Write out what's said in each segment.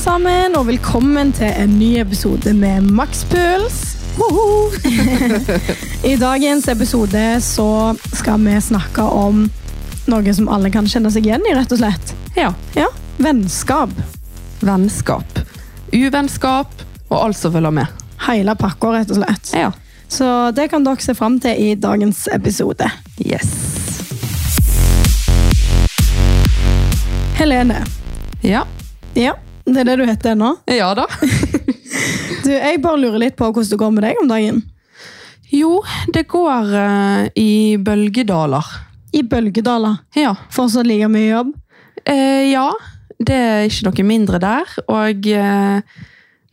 sammen, og velkommen til en ny episode med Makspuls. Woho! I dagens episode så skal vi snakke om noe som alle kan kjenne seg igjen i, rett og slett. Ja. Ja, vennskap. Vennskap. Uvennskap og alt som følger med. Hele pakka, rett og slett. Ja. Så det kan dere se fram til i dagens episode. Yes. Helene. Ja. Ja, det er det du heter nå. Ja da. Du, jeg bare lurer litt på hvordan det går med deg om dagen. Jo, det går eh, i bølgedaler. I bølgedaler. Ja. Fortsatt like mye jobb. Eh, ja, det er ikke noe mindre der. Og eh,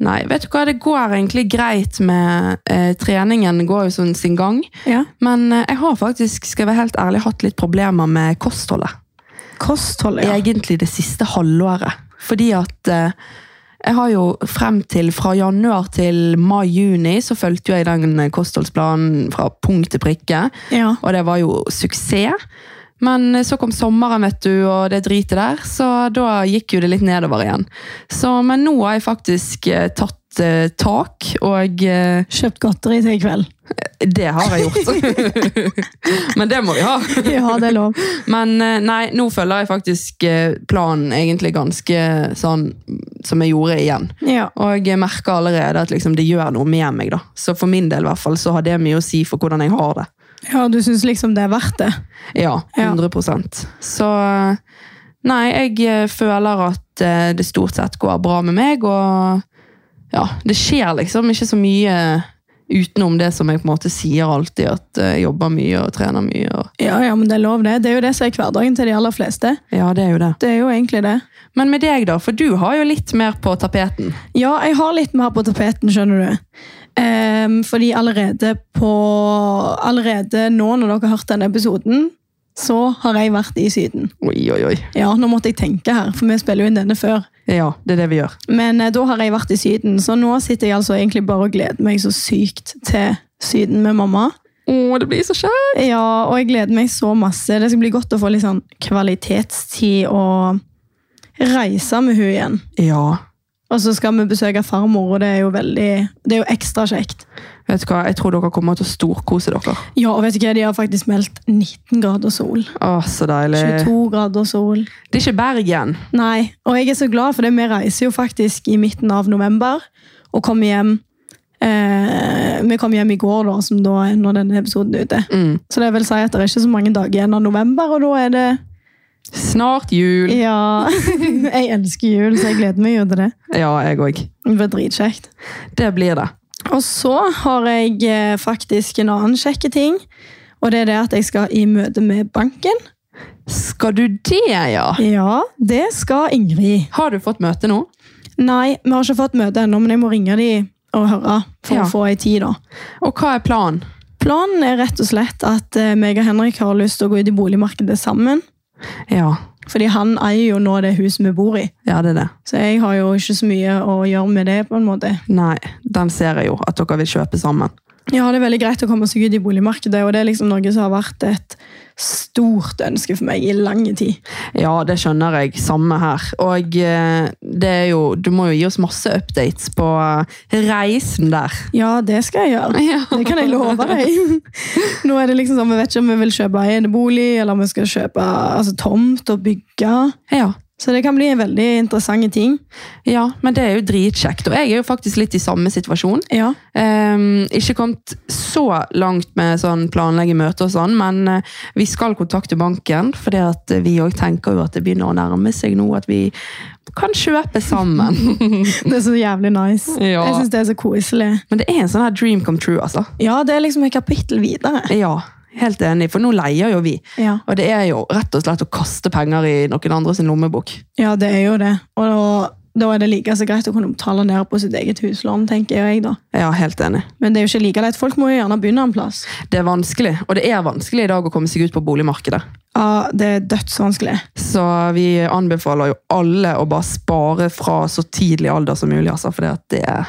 nei, vet du hva, det går egentlig greit med eh, treningen. Går jo sånn sin gang. Ja. Men eh, jeg har faktisk, skal jeg være helt ærlig, hatt litt problemer med kostholdet. Kostholdet, ja. egentlig det siste halvåret. Fordi at eh, jeg har jo frem til fra januar til mai-juni så fulgte jo jeg den eh, kostholdsplanen fra punkt til prikke. ja. Og det var jo suksess. Men eh, så kom sommeren, vet du, og det dritet der, så da gikk jo det litt nedover igjen. Så, men nå har jeg faktisk eh, tatt eh, tak, og eh, Kjøpt godteri til i kveld. det har jeg gjort. men det må vi ha. Ja, det er lov. Men eh, nei, nå følger jeg faktisk eh, planen egentlig ganske sånn som jeg gjorde igjen. Ja. Og jeg merker allerede at liksom, det gjør noe med meg. da. Så for min del i hvert fall, så har det mye å si for hvordan jeg har det. ja, du syns liksom det er verdt det? Ja, Ja. 100 Så eh, nei, jeg eh, føler at eh, det stort sett går bra med meg, og ja, det skjer liksom ikke så mye utenom det som jeg på en måte sier alltid, at eh, jeg jobber mye og trener mye. Og, Ja, ja, men det er lov, det. Det er jo det som er hverdagen til de aller fleste. ja, det er jo det. Det er jo egentlig det. Men med deg, da? For du har jo litt mer på tapeten. Ja, jeg har litt mer på tapeten, skjønner du. Ehm, fordi allerede på Allerede nå når dere har hørt denne episoden, så har jeg vært i Syden. Oi, oi, oi. Ja, nå måtte jeg tenke her, for vi spiller jo inn denne før. Ja, det er det vi gjør. Men eh, da har jeg vært i Syden, så nå sitter jeg altså egentlig bare og gleder meg så sykt til Syden med mamma. Å, det blir så kjekt! Ja, og jeg gleder meg så masse. Det skal bli godt å få litt sånn kvalitetstid og reise med hun igjen. Ja. Og så skal vi besøke farmor, og det er jo veldig, det er jo ekstra kjekt. Vet du hva, jeg tror dere kommer til å storkose dere. Ja, og vet du hva, de har faktisk meldt 19 grader sol. Å, så deilig. 22 grader sol. Det er ikke Bergen. Nei, og jeg er så glad for det. Vi reiser jo faktisk i midten av november og kommer hjem. Eh, vi kom hjem i går, da, som da er når denne episoden er ute. Mm. Så det vil si at det er ikke så mange dager igjen av november, og da er det Snart jul. Ja. jeg elsker jul, så jeg gleder meg jo til det. Ja, jeg òg. Det blir dritkjekt. Det blir det. Og så har jeg eh, faktisk en annen kjekke ting. Og det er det at jeg skal i møte med banken. Skal du det, ja? Ja, det skal Ingrid. Har du fått møte nå? Nei, vi har ikke fått møte ennå, men jeg må ringe de og høre for Ja. å få ei tid, da. Og hva er planen? Planen er rett og slett at eh, meg og Henrik har lyst til å gå ut i boligmarkedet sammen. Ja. Fordi han eier jo nå det huset vi bor i. Ja, det er det. Så jeg har jo ikke så mye å gjøre med det, på en måte. Nei, den ser jeg jo at dere vil kjøpe sammen. Ja, det er veldig greit å komme seg ut i boligmarkedet, og det er liksom noe som har vært et stort ønske for meg i lang tid. Ja, det skjønner jeg. Samme her. Og eh, det er jo, du må jo gi oss masse updates på eh, reisen der. Ja, det skal jeg gjøre. Det kan jeg love deg. Nå er det liksom sånn, Vi vet ikke om vi vil kjøpe en bolig, eller om vi skal kjøpe altså, tomt og bygge. Ja. Så det kan bli en veldig interessante ting. ja, men det er jo dritkjekt. Og jeg er jo faktisk litt i samme situasjon. Ja. Ehm, ikke kommet så langt med sånn planlegge møter og sånn, men eh, vi skal kontakte banken, fordi at vi òg tenker jo at det begynner å nærme seg nå at vi kan kjøpe sammen. Det er så jævlig nice. Ja. Jeg syns det er så koselig. men det er en sånn her dream come true, altså. Ja, det er liksom et kapittel videre. Ja, helt enig, for nå leier jo vi. Ja, Og det er jo rett og slett å kaste penger i noen andre sin lommebok. ja det er jo det. Og da, da er det like så greit å kunne betale ned på sitt eget huslån, tenker jeg da. Ja, helt enig. Men det er jo ikke like lett. Folk må jo gjerne begynne en plass. Det er vanskelig, og det er vanskelig i dag å komme seg ut på boligmarkedet. Ja, Det er dødsvanskelig. Så vi anbefaler jo alle å bare spare fra så tidlig alder som mulig, altså, for det, er-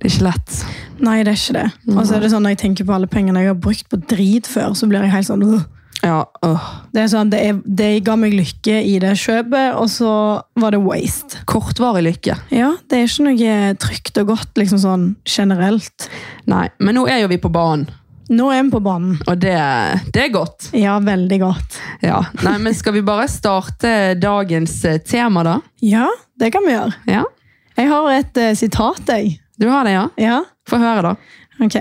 det er ikke lett. Nei, det er ikke det. Og så er det sånn når jeg tenker på alle pengene jeg har brukt på drit før, så blir jeg helt sånn øh. Ja, åh. Det er sånn, det, er, det ga meg lykke i det kjøpet, og så var det waste. Kortvarig lykke. Ja, det er ikke noe trygt og godt liksom sånn generelt. Nei, men nå er jo vi på banen, Nå er vi på banen. og det, det er godt. Ja, veldig godt. Ja. Nei, men skal vi bare starte dagens eh, tema, da? Ja, det kan vi gjøre. Ja. Jeg har et eh, sitat, jeg. Du har det, ja? Ja, Få høre, da. ok.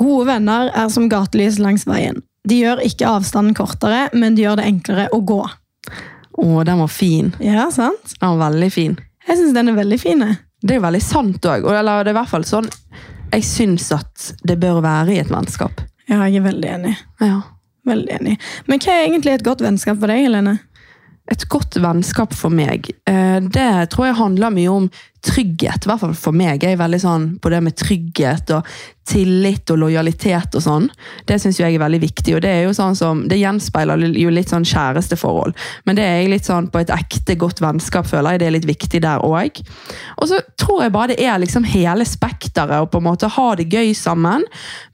Gode venner er som gatelys langs veien. De gjør ikke avstanden kortere, men de gjør det enklere å gå. Å, den var fin. Ja, sant? Den var veldig fin. Jeg synes den er veldig fin. jeg. Det er jo veldig sant òg. Eller det er i hvert fall sånn jeg syns at det bør være i et vennskap. Ja, jeg er veldig enig. Ja. Veldig enig. Men hva er egentlig et godt vennskap for deg, Helene? Et godt vennskap for meg, eh, det tror jeg handler mye om trygghet. I hvert fall for meg. Jeg er veldig sånn på det med trygghet og tillit og lojalitet og sånn. Det syns jeg er veldig viktig, og det er jo sånn som, det gjenspeiler jo litt sånn kjæresteforhold. Men det er jeg litt sånn på et ekte godt vennskap, føler jeg. Det er litt viktig der òg. Og så tror jeg bare det er liksom hele spekteret å på en måte ha det gøy sammen,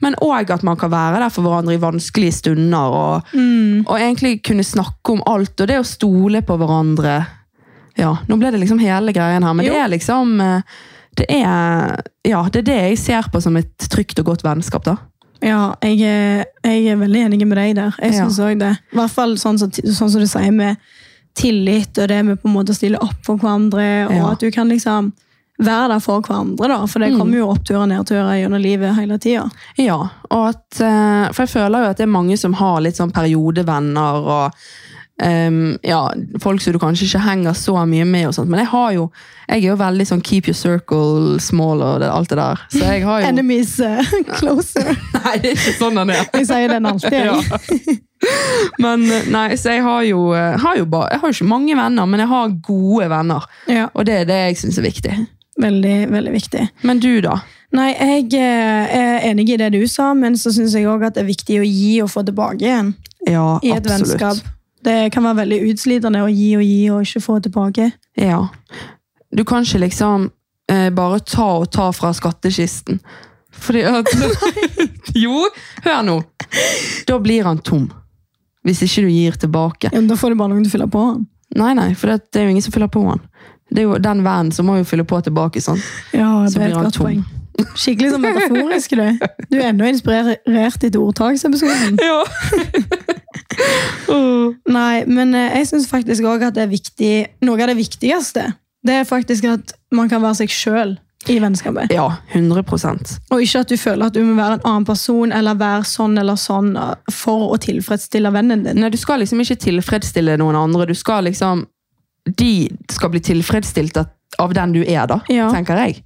men òg at man kan være der for hverandre i vanskelige stunder og, og egentlig kunne snakke om alt, og det å stole på hverandre. Ja, nå ble det liksom hele greien her, men Jo. det er liksom eh, det er, ja, det er det jeg ser på som et trygt og godt vennskap, da. Ja, jeg er, jeg er veldig enig med deg der. Jeg Ja. synes også det. I hvert fall sånn, som- sånn som du sier med tillit, og det med på en måte å stille opp for hverandre, og Ja. at du kan liksom være der for hverandre, da. For det Mm. kommer jo oppturer og nedturer gjennom livet hele tida. Ja, og at, eh, for jeg føler jo at det er mange som har litt sånn periodevenner og ehm, ja, folk som du kanskje ikke henger så mye med og sånt, men jeg har jo, jeg er jo veldig sånn keep your circle small og det, alt det der. Så jeg har jo... Enemies eh, closer. Nei, det er ikke sånn den er. Jeg sier den alltid. jeg. Ja. Men eh, nei, så jeg har jo, eh, har jo bare, jeg har jo ikke mange venner, men jeg har gode venner, ja. og det er det jeg synes er viktig. Veldig, veldig viktig. Men du da? Nei, jeg eh, er enig i det du sa, men så syns jeg òg at det er viktig å gi og få tilbake igjen. Ja, i et vennskap. Det kan være veldig utslitende å gi og gi og ikke få tilbake. Ja. Du kan ikke liksom eh, bare ta og ta fra skattkisten. Fordi at Jo, hør nå! Da blir han tom. Hvis ikke du gir tilbake. Ja, men da får du bare noen til å fylle på den. Nei, nei, for det, det er jo ingen som fyller på han. Det er jo den vennen som må jo fylle på tilbake. sant? Ja, det Så er blir et han godt tom. poeng. Skikkelig sånn metaforisk, du. Du er ennå inspirert etter ordtaksepisoden. Ja. Nei, men eh, jeg syns faktisk òg at det er viktig Noe av det viktigste det er faktisk at man kan være seg sjøl i vennskapet. ja, 100 Og ikke at du føler at du må være en annen person eller være sånn eller sånn eh, for å tilfredsstille vennen din. Nei, Du skal liksom ikke tilfredsstille noen andre. Du skal liksom, De skal bli tilfredsstilt at- av den du er, da, Ja. tenker jeg.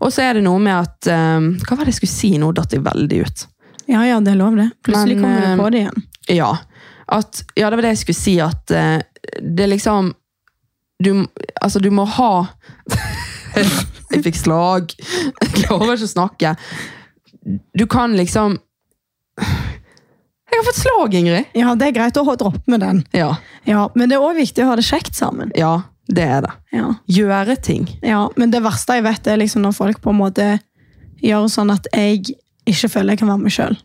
Og så er det noe med at ehm, Hva var det jeg skulle si? Nå datt jeg veldig ut. Ja, ja, det er lov, det. Plutselig Men, kommer eh, du på det igjen. Ja, at, ja det var det jeg skulle si. At eh, det er liksom du, altså, du må ha Jeg fikk slag. Jeg klarer ikke å snakke. Du kan liksom Jeg har fått slag, Ingrid! Ja, det er greit å ha- droppe med den. Ja, Ja, men det er òg viktig å ha det kjekt sammen. ja det er det. Ja. Gjøre ting. ja, Men det verste jeg vet, er liksom når folk på en måte gjør sånn at jeg ikke føler jeg kan være meg sjøl.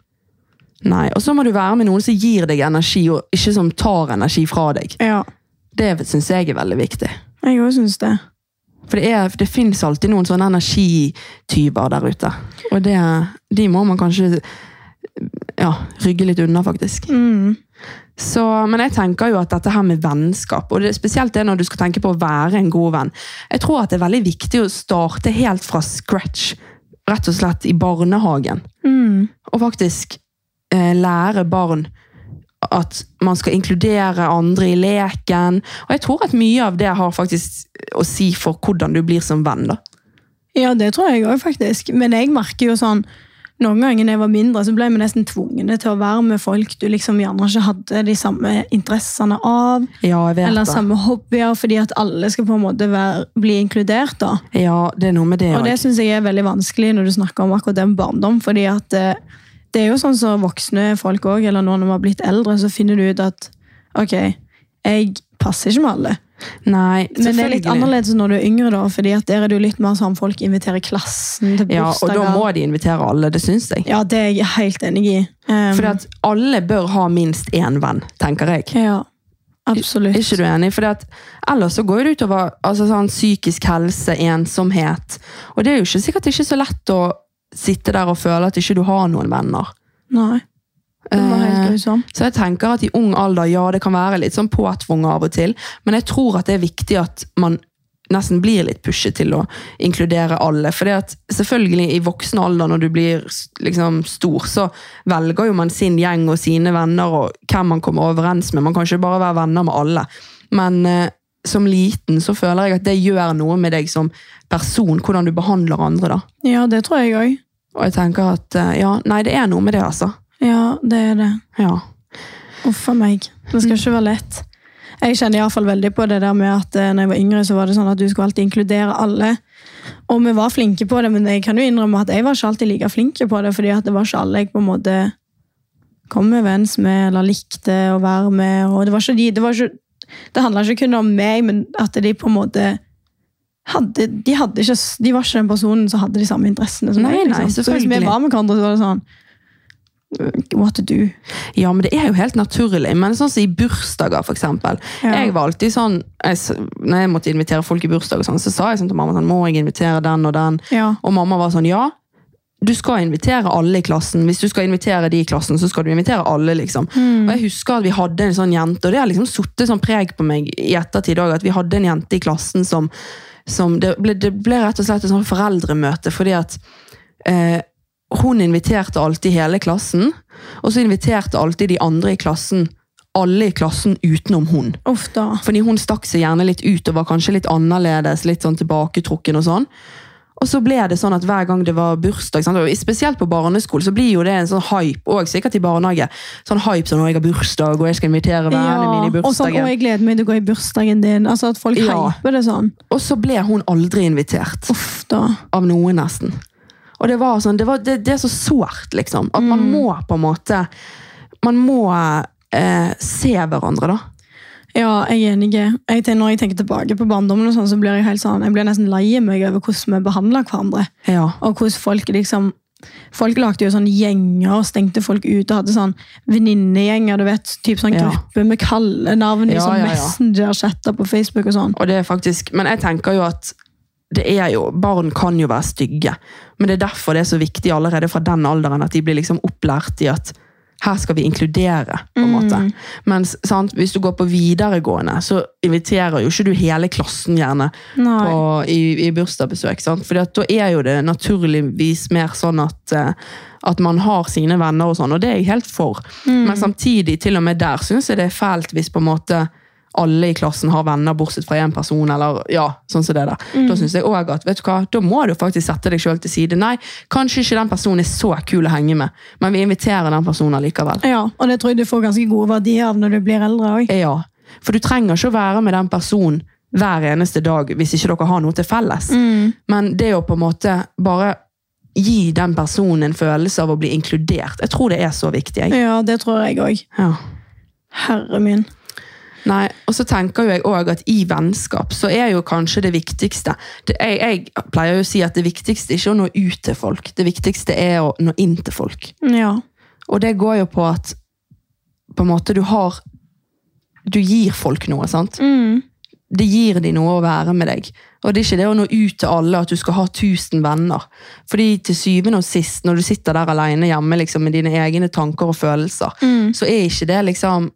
Nei, og så må du være med noen som gir deg energi, og ikke som tar energi fra deg. Ja, Det syns jeg er veldig viktig. jeg òg syns det. For det, er, det fins alltid noen sånne energityver der ute. Og det, de må man kanskje ja, rygge litt unna, faktisk. Mm. Så, men jeg tenker jo at dette her med vennskap, og det, spesielt det når du skal tenke på å være en god venn Jeg tror at det er veldig viktig å starte helt fra scratch, rett og slett i barnehagen. Mm. Og faktisk eh, lære barn at man skal inkludere andre i leken. Og jeg tror at mye av det har faktisk å si for hvordan du blir som venn. da. Ja, det tror jeg òg, faktisk. Men jeg merker jo sånn noen ganger når jeg var mindre, så ble vi nesten tvungne til å være med folk du liksom gjerne ikke hadde de samme interessene av, Ja, jeg vet eller det. samme hobbyer, fordi at alle skal på en måte være, bli inkludert. da. Ja, det er noe med det. Og det også. syns jeg er veldig vanskelig når du snakker om akkurat det med barndom. fordi at eh, det er jo sånn som voksne folk òg, eller nå når vi har blitt eldre, så finner du ut at ok, jeg passer ikke med alle. Men Nei, det er litt selvfølgelig. annerledes når du er yngre, da, fordi at der er det jo litt mer sånn folk inviterer klassen til Ja, og da må bursdager. de invitere alle, det syns jeg. Ja, det er jeg helt enig i. Um, Fordi at alle bør ha minst én venn, tenker jeg. Ja, Er absolutt. ikke du enig? Fordi at ellers så går det utover altså, sånn, psykisk helse, ensomhet. Og det er jo ikke sikkert ikke så lett å sitte der og føle at ikke du har noen venner. Nei. Det var helt Eh, grusom. Så jeg tenker at i ung alder, ja, det kan være litt sånn påtvunget av og til, men jeg tror at det er viktig at man nesten blir litt pushet til å inkludere alle. For at selvfølgelig i voksen alder, når du blir s- liksom stor, så velger jo man sin gjeng og sine venner og hvem man kommer overens med. Man kan ikke bare være venner med alle. Men eh, som liten så føler jeg at det gjør noe med deg som person, hvordan du behandler andre da. Ja, det tror jeg òg. Og jeg tenker at, eh, ja, nei, det er noe med det altså. Ja, det er det. Ja. Uff a meg. Det skal ikke være lett. Jeg kjenner i hvert fall veldig på det der med at eh, når jeg var yngre, så var det sånn at du skulle alltid inkludere alle. Og vi var flinke på det, men jeg kan jo innrømme at jeg var ikke alltid like flink på det, fordi at det var ikke alle jeg på en måte kom overens med, eller likte å være med. Og det var ikke de, det var ikke, det handla ikke kun om meg, men at de på en måte hadde, de, hadde ikke, de var ikke den personen som hadde de samme interessene som Nei, meg. liksom. nei, så hvis vi selvfølgelig. var med hverandre, så var det sånn What to do? Ja, men det er jo helt naturlig. Men sånn som i bursdager, for eksempel. Ja. Jeg var alltid sånn, jeg, s- når jeg måtte invitere folk i bursdag, og sånn, så sa jeg sånn til mamma, sånn, må jeg invitere den og den? Ja. Og mamma var sånn, ja, du skal invitere alle i klassen. Hvis du skal invitere de i klassen, så skal du invitere alle, liksom. Og jeg husker at vi hadde en sånn jente, og det har liksom suttet sånn preg på meg i ettertid også, at vi hadde en jente i klassen som, som det, ble, det ble rett og slett et sånn foreldremøte, fordi at eh, hun inviterte alltid hele klassen, og så inviterte alltid de andre i klassen, alle i klassen utenom hun. Uff da. Fordi hun stakk seg gjerne litt ut og var kanskje litt annerledes, litt sånn tilbaketrukken og sånn. Og så ble det sånn at hver gang det var bursdag, sant? og spesielt på barneskole, så blir jo det en sånn hype, og sikkert i barnehage, sånn hype sånn, å jeg har bursdag, og jeg skal invitere vennene mine i og sånn, bursdagen. «Å, Og, jeg gleder meg til å gå i bursdagen din. Altså At folk Ja. hyper det sånn. så ble hun aldri invitert. Uff da. Av noen nesten. Og det var sånn, det, var, det, det er så sårt liksom, at man må på en måte, man må eh, se hverandre da. Ja, jeg er enig. Jeg, ten- når jeg tenker tilbake på barndommen, og sånn, så blir jeg helt sånn, jeg blir nesten lei meg over hvordan vi behandler hverandre. Ja. Og hvordan folk liksom Folk lagde jo sånne gjenger og stengte folk ut og hadde sånn venninnegjenger. du vet, typ sånn Ja. gruppe med kallenavn i Ja, sånn ja, ja. Messenger-chatter på Facebook og sånn. liksom. Og det er faktisk, men jeg tenker jo at det er jo, barn kan jo være stygge, men det er derfor det er så viktig allerede fra den alderen at de blir liksom opplært i at her skal vi inkludere, på en måte. Mens sant, hvis du går på videregående, så inviterer jo ikke du hele klassen gjerne Nei. på, i, i bursdagsbesøk. sant? Fordi at da er jo det naturligvis mer sånn at, eh, at man har sine venner og sånn, og det er jeg helt for. Men samtidig, til og med der, syns jeg det er fælt hvis på en måte alle i klassen har venner bortsett fra én person, eller ja, sånn som det der. Da syns jeg òg at vet du hva, da må du faktisk sette deg sjøl til side. Nei, kanskje ikke den personen er så kul å henge med, men vi inviterer den personen likevel. Ja, og det tror jeg du får ganske gode verdier av når du blir eldre òg. Ja, for du trenger ikke å være med den personen hver eneste dag hvis ikke dere har noe til felles. Men det å på en måte bare gi den personen en følelse av å bli inkludert, jeg tror det er så viktig. Jeg. Ja, det tror jeg òg. Ja. Herre min. Nei, og så tenker jo jeg også at i vennskap så er jo kanskje det viktigste det, jeg, jeg pleier jo å si at det viktigste er ikke å nå ut til folk, det viktigste er å nå inn til folk. Ja. Og det går jo på at på en måte du har du gir folk noe, sant? Mm. Det gir de noe å være med deg. Og det er ikke det å nå ut til alle at du skal ha tusen venner. Fordi til syvende og sist, når du sitter der alene hjemme liksom, med dine egne tanker og følelser, Mm. så er ikke det liksom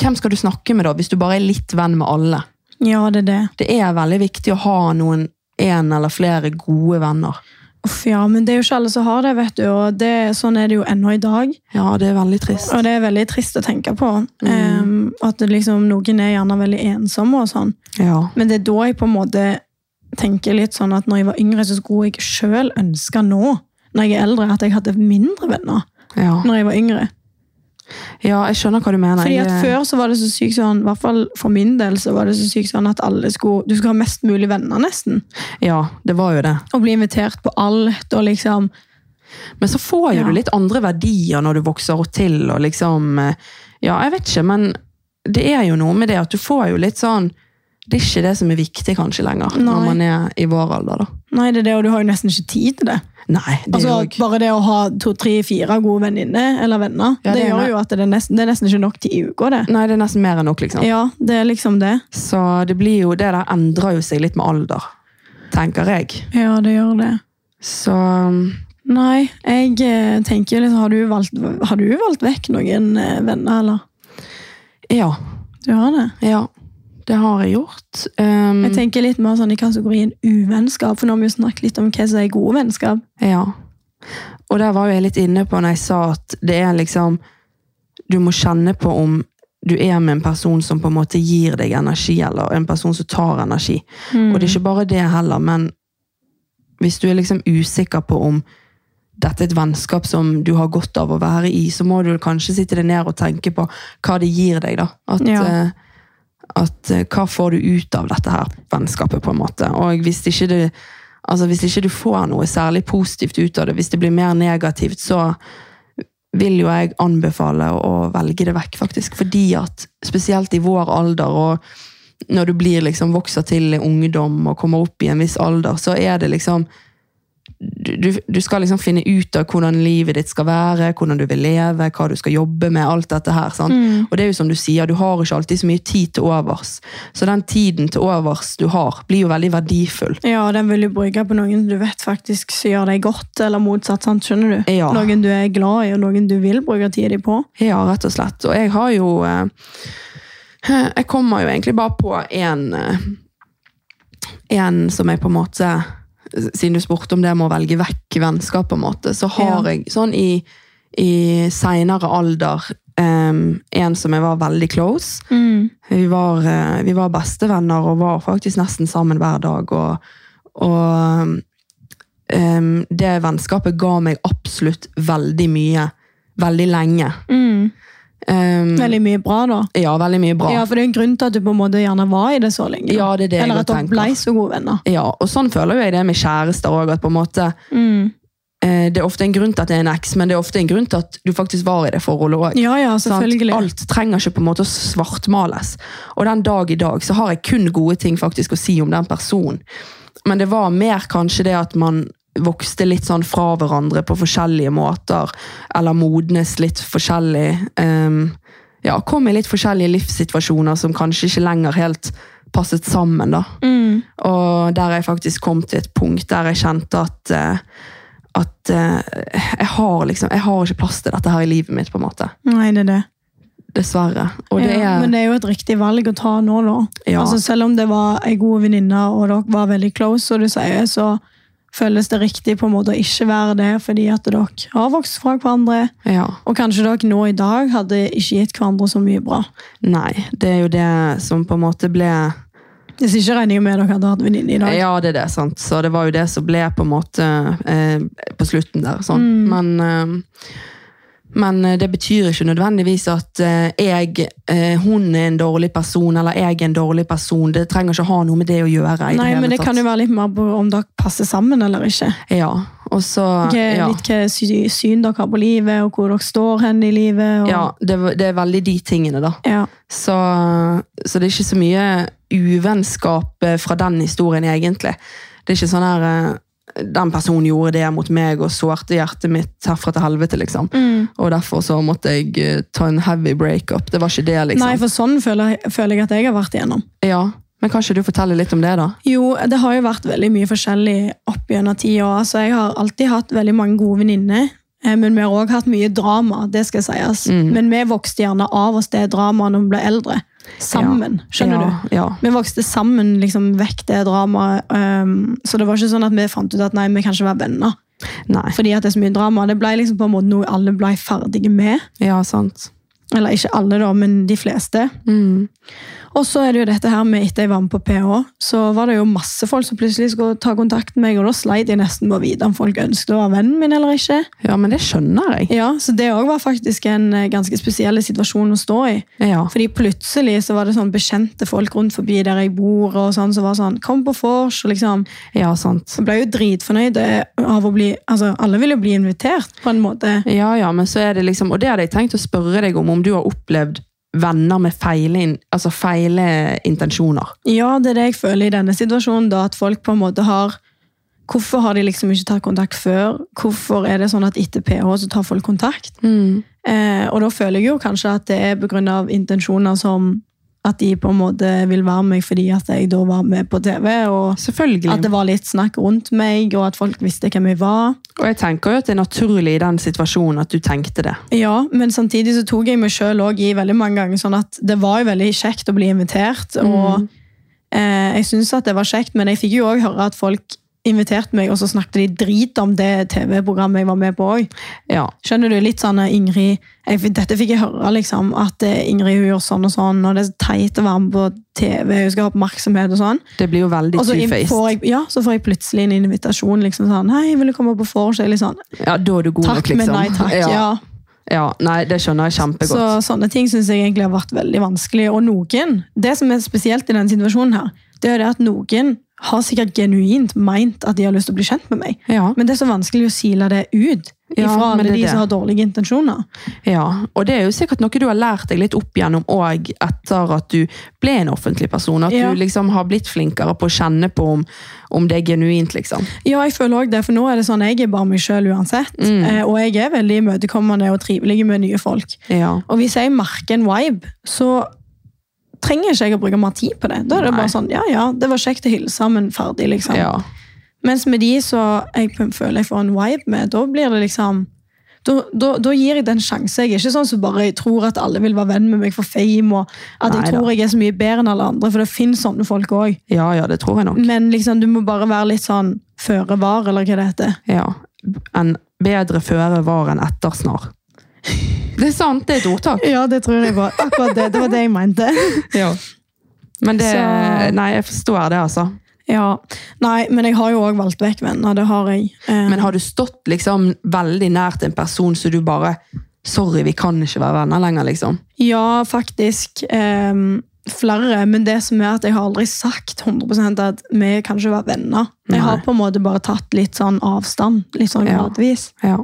Hvem skal du snakke med da, hvis du bare er litt venn med alle? Ja, det er det. Det er veldig viktig å ha noen en eller flere gode venner. Uff, ja, men det er jo ikke alle som har det, vet du. Og det, sånn er det jo ennå i dag. Ja, det er veldig trist. Og det er veldig trist å tenke på. Em, at det liksom, noen er gjerne veldig ensomme og sånn. Ja. Men det er da jeg på en måte tenker litt sånn at når jeg var yngre, så skulle jeg sjøl ønske nå, når jeg er eldre, at jeg hadde mindre venner Ja. når jeg var yngre. ja, jeg skjønner hva du mener. Fordi at Jeg- før så var det så sykt sånn, i hvert fall for min del, så var det så sykt sånn at alle skulle, du skulle ha mest mulig venner nesten. Ja, det var jo det. Og bli invitert på alt, og liksom Men så får jo Ja. du litt andre verdier når du vokser til, og liksom eh, Ja, jeg vet ikke, men det er jo noe med det at du får jo litt sånn det er ikke det som er viktig kanskje lenger, når Nei. man er i vår alder. da. Nei, det er det, og du har jo nesten ikke tid til det. Nei, det Altså, er jo ikke- bare det å ha to, tre, fire gode venninner eller venner, Ja, det, det er gjør det. jo at det er, nesten, det er nesten ikke nok til i uka, det. Nei, det er nesten mer enn nok, liksom. Ja, det er liksom det. Så det blir jo, det der endrer jo seg litt med alder, tenker jeg. Ja, det gjør det. Så Nei, jeg eh, tenker jo liksom, har du, valgt, har du valgt vekk noen eh, venner, eller? ja. Du har det? Ja, det har jeg gjort. Um, Jeg tenker litt mer sånn i kategorien uvennskap, for nå har vi jo snakket litt om hva som er gode vennskap. Ja. Og der var jo jeg litt inne på når jeg sa at det er liksom Du må kjenne på om du er med en person som på en måte gir deg energi, eller en person som tar energi. Og det er ikke bare det heller, men hvis du er liksom usikker på om dette er et vennskap som du har godt av å være i, så må du kanskje sitte deg ned og tenke på hva det gir deg, da. At, Ja. eh, at eh, hva får du ut av dette her vennskapet, på en måte. Og hvis ikke du, altså, hvis ikke du får noe særlig positivt ut av det, hvis det blir mer negativt, så vil jo jeg anbefale å velge det vekk, faktisk. Fordi at spesielt i vår alder, og når du blir liksom vokser til ungdom og kommer opp i en viss alder, så er det liksom du, du- du skal liksom finne ut av hvordan livet ditt skal være, hvordan du vil leve, hva du skal jobbe med, alt dette her. sant? Og det er jo som du sier, du har ikke alltid så mye tid til overs. Så den tiden til overs du har, blir jo veldig verdifull. Ja, og den vil du bruke på noen du vet faktisk som gjør deg godt, eller motsatt, sant? skjønner du? Ja. Noen du er glad i, og noen du vil bruke tida di på. Ja, rett og slett. Og jeg har jo eh, Jeg kommer jo egentlig bare på en eh, En som jeg på en måte Siden du spurte om det med å velge vekk vennskap, på en måte, så har Ja. jeg sånn i, i seinere alder em, en som jeg var veldig close. Mm. Vi var, eh, vi var bestevenner og var faktisk nesten sammen hver dag. Og, og em, det vennskapet ga meg absolutt veldig mye. Veldig lenge. Mm. Em, Veldig mye bra, da. Ehm, ja, veldig mye bra. Ja, Ja, for det er jo en grunn til at du på en måte gjerne var i det så lenge. da. det er det Eller jeg at godt dere tenker. ble så gode venner. Ja, og sånn føler jo jeg det med kjærester òg. Eh, det er ofte en grunn til at det er en eks, men det er ofte en grunn til at du faktisk var i det forholdet òg. Ja, ja, selvfølgelig. Alt trenger ikke på en måte å svartmales. Og den dag i dag så har jeg kun gode ting faktisk å si om den personen. Men det var mer kanskje det at man vokste litt sånn fra hverandre på forskjellige måter. Eller modnes litt forskjellig. ehm, ja, kom i litt forskjellige livssituasjoner som kanskje ikke lenger helt passet sammen. da. Mm. Og der jeg faktisk kom til et punkt der jeg kjente at eh, at eh, jeg har liksom jeg har ikke plass til dette her i livet mitt, på en måte. Nei, det er det. Dessverre. Og det ja, er men det er jo et riktig valg å ta nå, da. Ja. Altså, selv om det var ei god venninne, og dere var veldig close, som du sier, så føles det riktig på en måte å ikke være det, fordi at dere har vokst fra hverandre. ja. Og kanskje dere nå i dag hadde ikke gitt hverandre så mye bra. Nei, det er jo det som på en måte ble Hvis ikke regner jeg med dere hadde hatt venninne i dag. Ja, det er det, sant. Så det var jo det som ble på en måte eh, på slutten der, sånn. Mm. Men eh, men eh, det betyr ikke nødvendigvis at eh, jeg, eh, hun er en dårlig person, eller jeg er en dårlig person. Det trenger ikke å ha noe med det å gjøre. i Nei, det hele men det tatt. kan jo være litt mer på om dere passer sammen eller ikke. Ja, og så... Hva, ja. Litt hva sy- syn dere har på livet, og hvor dere står hen i livet. Og, Ja, det, det er veldig de tingene, da. Ja. Så, så det er ikke så mye uvennskap eh, fra den historien, egentlig. Det er ikke sånn her eh, Den personen gjorde det mot meg og sårte hjertet mitt herfra til helvete, liksom. Mm. Og derfor så måtte jeg eh, ta en heavy breakup. Det var ikke det, Nei, liksom. for sånn føler, jeg- føler jeg at jeg har vært igjennom. Ja, Men kan ikke du fortelle litt om det, da? Jo, det har jo vært veldig mye forskjellig opp gjennom tida. Altså, jeg har alltid hatt veldig mange gode venninner, eh, men vi har òg hatt mye drama. det skal sies. Mm. Men vi vokste gjerne av oss det dramaet når vi ble eldre. Sammen, skjønner du? ja, Ja. Vi vokste sammen liksom, vekk det dramaet. ehm, så det var ikke sånn at vi fant ut at nei, vi kan ikke være venner. Nei. Fordi at det er så mye drama. Det ble liksom på en måte noe alle ble ferdige med. Ja, sant. Eller ikke alle, da, men de fleste. Mm. Og så er det jo dette her med etter jeg var med på PH, så var det jo masse folk som plutselig skulle ta kontakt med meg, og da sleit jeg nesten med å vite om folk ønsket å være vennen min eller ikke. Ja, men det skjønner jeg. Ja, Så det òg var faktisk en eh, ganske spesiell situasjon å stå i. Ja. Fordi plutselig så var det sånn bekjente folk rundt forbi der jeg bor, og sånn, som var sånn 'Kom på vors', og liksom. ja, sant. Så ble jeg jo dritfornøyd eh, av å bli Altså, alle vil jo bli invitert, på en måte. Ja, ja, men så er det liksom, og det hadde jeg tenkt å spørre deg om, om du har opplevd venner med feile, in- altså feile intensjoner. Ja, det er det jeg føler i denne situasjonen, da at folk på en måte har Hvorfor har de liksom ikke tatt kontakt før? Hvorfor er det sånn at etter PH så tar folk kontakt? Mm. Eh, og da føler jeg jo kanskje at det er pga. intensjoner som at de på en måte vil være meg fordi at jeg da var med på TV, og Selvfølgelig. at det var litt snakk rundt meg, og at folk visste hvem jeg var. og jeg tenker jo at det er naturlig i den situasjonen at du tenkte det. Ja, men samtidig så tok jeg meg sjøl òg i veldig mange ganger. sånn at Det var jo veldig kjekt å bli invitert. Mm. Og eh, jeg syns at det var kjekt, men jeg fikk jo òg høre at folk inviterte meg, og så snakket de drit om det TV-programmet jeg var med på òg. Ja. Skjønner du? Litt sånn eh, Ingrid jeg, fikk- Dette fikk jeg høre, liksom. At eh, Ingrid hun gjør sånn og sånn, og det er så teit å være med på TV, hun skal ha oppmerksomhet og sånn. Det blir jo veldig Og så in- two-faced. får jeg, ja, så får jeg plutselig en invitasjon liksom sånn Hei, vil du komme på vors? Jeg er litt sånn Ja, da er du god Takk, nok, liksom. men nei takk. Ja. ja. Ja, Nei, det skjønner jeg kjempegodt. Så sånne ting synes jeg egentlig har vært veldig vanskelig. Og noen, det som er spesielt i denne situasjonen her, det er det at noen har sikkert genuint meint at de har lyst til å bli kjent med meg. ja. Men det er så vanskelig å sile det ut Ja, ifra men alle det er de det. som har dårlige intensjoner. Ja, og det er jo sikkert noe du har lært deg litt opp gjennom òg etter at du ble en offentlig person. At Ja. du liksom har blitt flinkere på å kjenne på om, om det er genuint, liksom. Ja, jeg føler også det, for nå er det sånn jeg er bare meg selv uansett. Eh, Og jeg er veldig imøtekommende og trivelig med nye folk. Ja. Og hvis jeg merker en vibe, så trenger ikke jeg å bruke mer tid på det. Da er det Nei. bare sånn, ja, ja, det var kjekt å hilse, men ferdig, liksom. ja. Mens med de så jeg p- føler jeg får en vibe med, da blir det liksom da, da, da gir jeg det en sjanse. Jeg er ikke sånn som bare jeg tror at alle vil være venn med meg for fame, og at jeg Neida. tror jeg er så mye bedre enn alle andre, for det finnes sånne folk òg. ja, ja, det tror jeg nok. Men liksom, du må bare være litt sånn føre var, eller hva det heter. Ja. En bedre føre var enn etter snar. Det er sant, det er et ordtak. Ja, det tror jeg var akkurat det. Det var det jeg mente. Ja. Men det Så- Nei, jeg forstår det, altså. Ja, Nei, men jeg har jo òg valgt vekk venner. Det har jeg. Eh, Men har du stått liksom veldig nært en person så du bare Sorry, vi kan ikke være venner lenger, liksom. Ja, faktisk. ehm, flere. Men det som er at jeg har aldri sagt 100 at vi kan ikke være venner. Jeg har Nei. på en måte bare tatt litt sånn avstand. Litt sånn Ja. gradvis. Ja.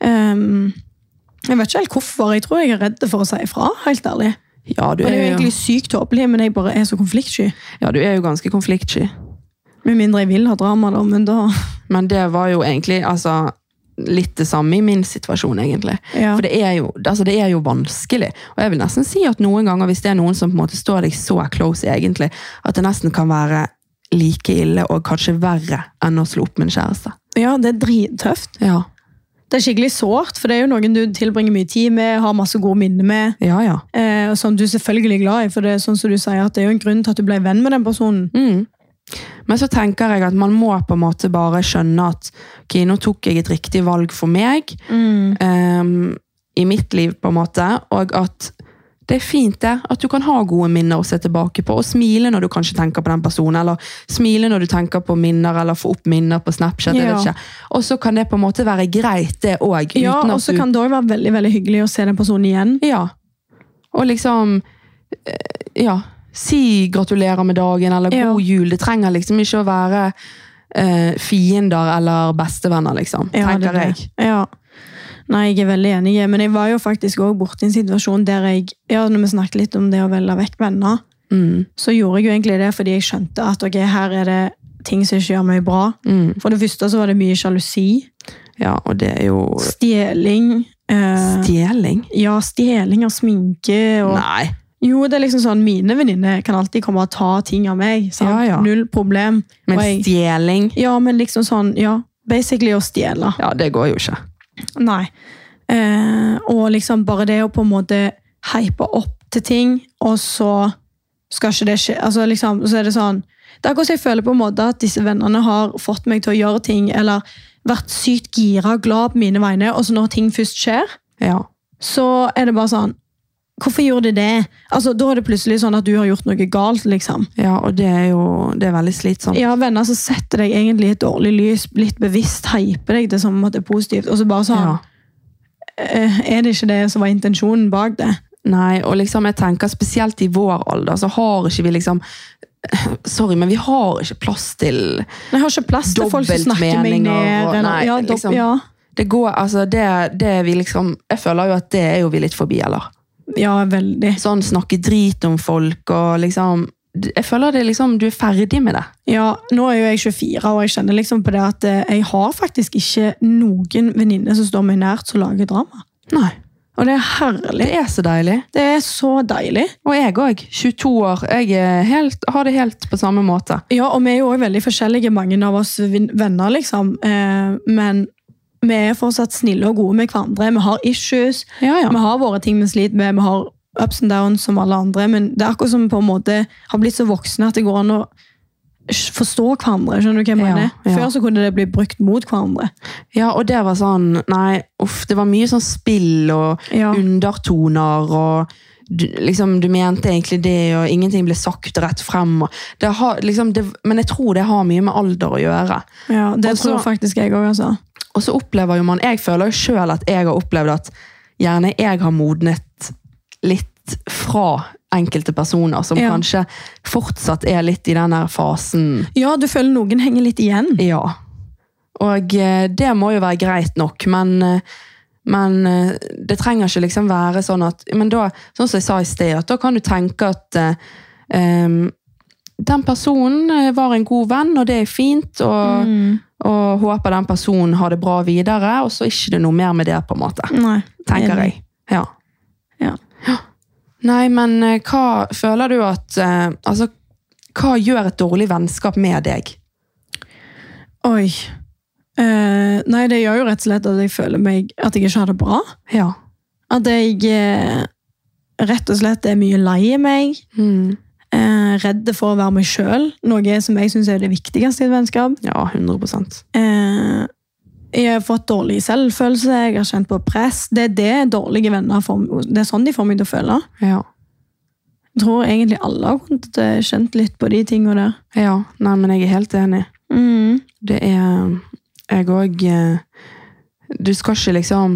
Ehm, jeg vet ikke helt hvorfor. Jeg tror jeg er redd for å si ifra. helt ærlig. Ja, du Og det er er jo jo, egentlig sykt tåpelig, men jeg bare er så konfliktsky. ja, du er jo ganske konfliktsky. Med mindre jeg vil ha drama, da. Men da Men det var jo egentlig altså, litt det samme i min situasjon, egentlig. ja. For det er, jo, altså, det er jo vanskelig. Og jeg vil nesten si at noen ganger, hvis det er noen som på en måte står deg så close, egentlig, at det nesten kan være like ille og kanskje verre enn å slå opp med en kjæreste. ja, det er drittøft. Ja, Det er skikkelig sårt, for det er jo noen du tilbringer mye tid med, har masse gode minner med. ja. ja. Eh, og som du er selvfølgelig glad i, for det er sånn som du sier at det er jo en grunn til at du ble venn med den personen. Mm. Men så tenker jeg at man må på en måte bare skjønne at ok, nå tok jeg et riktig valg for meg Mm. em, i mitt liv, på en måte, og at det er fint det, at du kan ha gode minner å se tilbake på, og smile når du kanskje tenker på den personen, eller smile når du tenker på minner, eller få opp minner på Snapchat, jeg Ja. vet ikke. Og så kan det på en måte være greit det også, Ja, uten og at så du... kan det òg være veldig veldig hyggelig å se den personen igjen. Ja. Og liksom eh, Ja. Si gratulerer med dagen, eller god Ja. jul. Det trenger liksom ikke å være eh, fiender eller bestevenner, liksom. Ja, det er tenker det. jeg. Ja. Nei, jeg er veldig enig, men jeg var jo faktisk òg borti en situasjon der jeg ja, Når vi snakket litt om det å velge vekk venner, Mm, så gjorde jeg jo egentlig det fordi jeg skjønte at ok, her er det ting som ikke gjør meg bra. mm. For det første så var det mye sjalusi, Ja, og det er jo stjeling eh, Stjeling? Ja, stjeling av sminke og Nei. Jo, det er liksom sånn, mine venninner kan alltid komme og ta ting av meg. Sant? Ja, ja. Null problem. Men Og jeg, stjeling ja, men liksom sånn, ja, basically å stjele. Ja, det går jo ikke. Nei. Eh, og liksom bare det å på en måte hype opp til ting, og så skal ikke det skje. Altså liksom, så er det sånn, det er akkurat som jeg føler på en måte at disse vennene har fått meg til å gjøre ting, eller vært sykt gira og glad på mine vegne, og så når ting først skjer, Ja. så er det bare sånn Hvorfor gjorde de det? Altså, Da er det plutselig sånn at du har gjort noe galt. liksom. ja, og det er jo Det er veldig slitsomt. Ja, Venner som setter deg egentlig i et dårlig lys, litt bevisst hyper deg det som at det er positivt, og så bare sånn Ja. eh, Er det ikke det som var intensjonen bak det? Nei, og liksom jeg tenker spesielt i vår alder, så har ikke vi liksom Sorry, men vi har ikke plass til Jeg har ikke plass til folk som snakker meg Dobbeltmeninger ned. og- eller- nei, ja, dob- liksom. ja. Det går, altså det, det er vi liksom Jeg føler jo at det er jo vi litt forbi, eller? Ja, veldig. Sånn snakke drit om folk og liksom Jeg føler det er liksom Du er ferdig med det. Ja, nå er jo jeg 24, og jeg kjenner liksom på det at eh, jeg har faktisk ikke noen venninne som står meg nært, som lager drama. Nei. Og det er herlig. Det er så deilig. Det er så deilig. Og jeg òg. 22 år. Jeg er helt, har det helt på samme måte. Ja, og vi er jo også veldig forskjellige, mange av oss vin- venner, liksom. Eh, Men vi er fortsatt snille og gode med hverandre. Vi har issues. Ja, ja. Vi har våre ting vi sliter med, vi har ups and downs som alle andre, men det er akkurat som vi på en måte har blitt så voksne at det går an å s- forstå hverandre. skjønner du hva jeg Ja, mener? ja. Før så kunne det bli brukt mot hverandre. ja, og det var sånn Nei, uff. Det var mye sånn spill og Ja. undertoner og du, liksom, du mente egentlig det, og ingenting ble sagt rett frem. Og det har, liksom, det, men jeg tror det har mye med alder å gjøre. Ja, det Og så- tror faktisk jeg òg, altså. Og så opplever jo man Jeg føler jo sjøl at jeg har opplevd at gjerne jeg har modnet litt fra enkelte personer som Ja. kanskje fortsatt er litt i den der fasen. Ja, du føler noen henger litt igjen. Ja. Og eh, det må jo være greit nok, men eh, men eh, det trenger ikke liksom være sånn at men da, Sånn som jeg sa i sted, at da kan du tenke at eh, em, den personen eh, var en god venn, og det er fint, og, Mm. og håper den personen har det bra videre, og så er ikke det noe mer med det, på en måte. Nei. Tenker Enig. jeg. Ja. Ja. Nei, men eh, hva føler du at eh, Altså, hva gjør et dårlig vennskap med deg? Oi. Eh, nei, det gjør jo rett og slett at jeg føler meg at jeg ikke har det bra. Ja. At jeg eh, rett og slett er mye lei meg. Mm. Eh, redd for å være meg sjøl, noe som jeg syns er det viktigste i et vennskap. Ja, 100 Eh, jeg har fått dårlig selvfølelse, jeg har kjent på press. Det er det dårlige venner får, det er sånn de får meg til å føle. Ja. Jeg tror egentlig alle har kunnet, eh, kjent litt på de tingene der. ja. Nei, men jeg er helt enig. Det er Jeg òg Du skal ikke liksom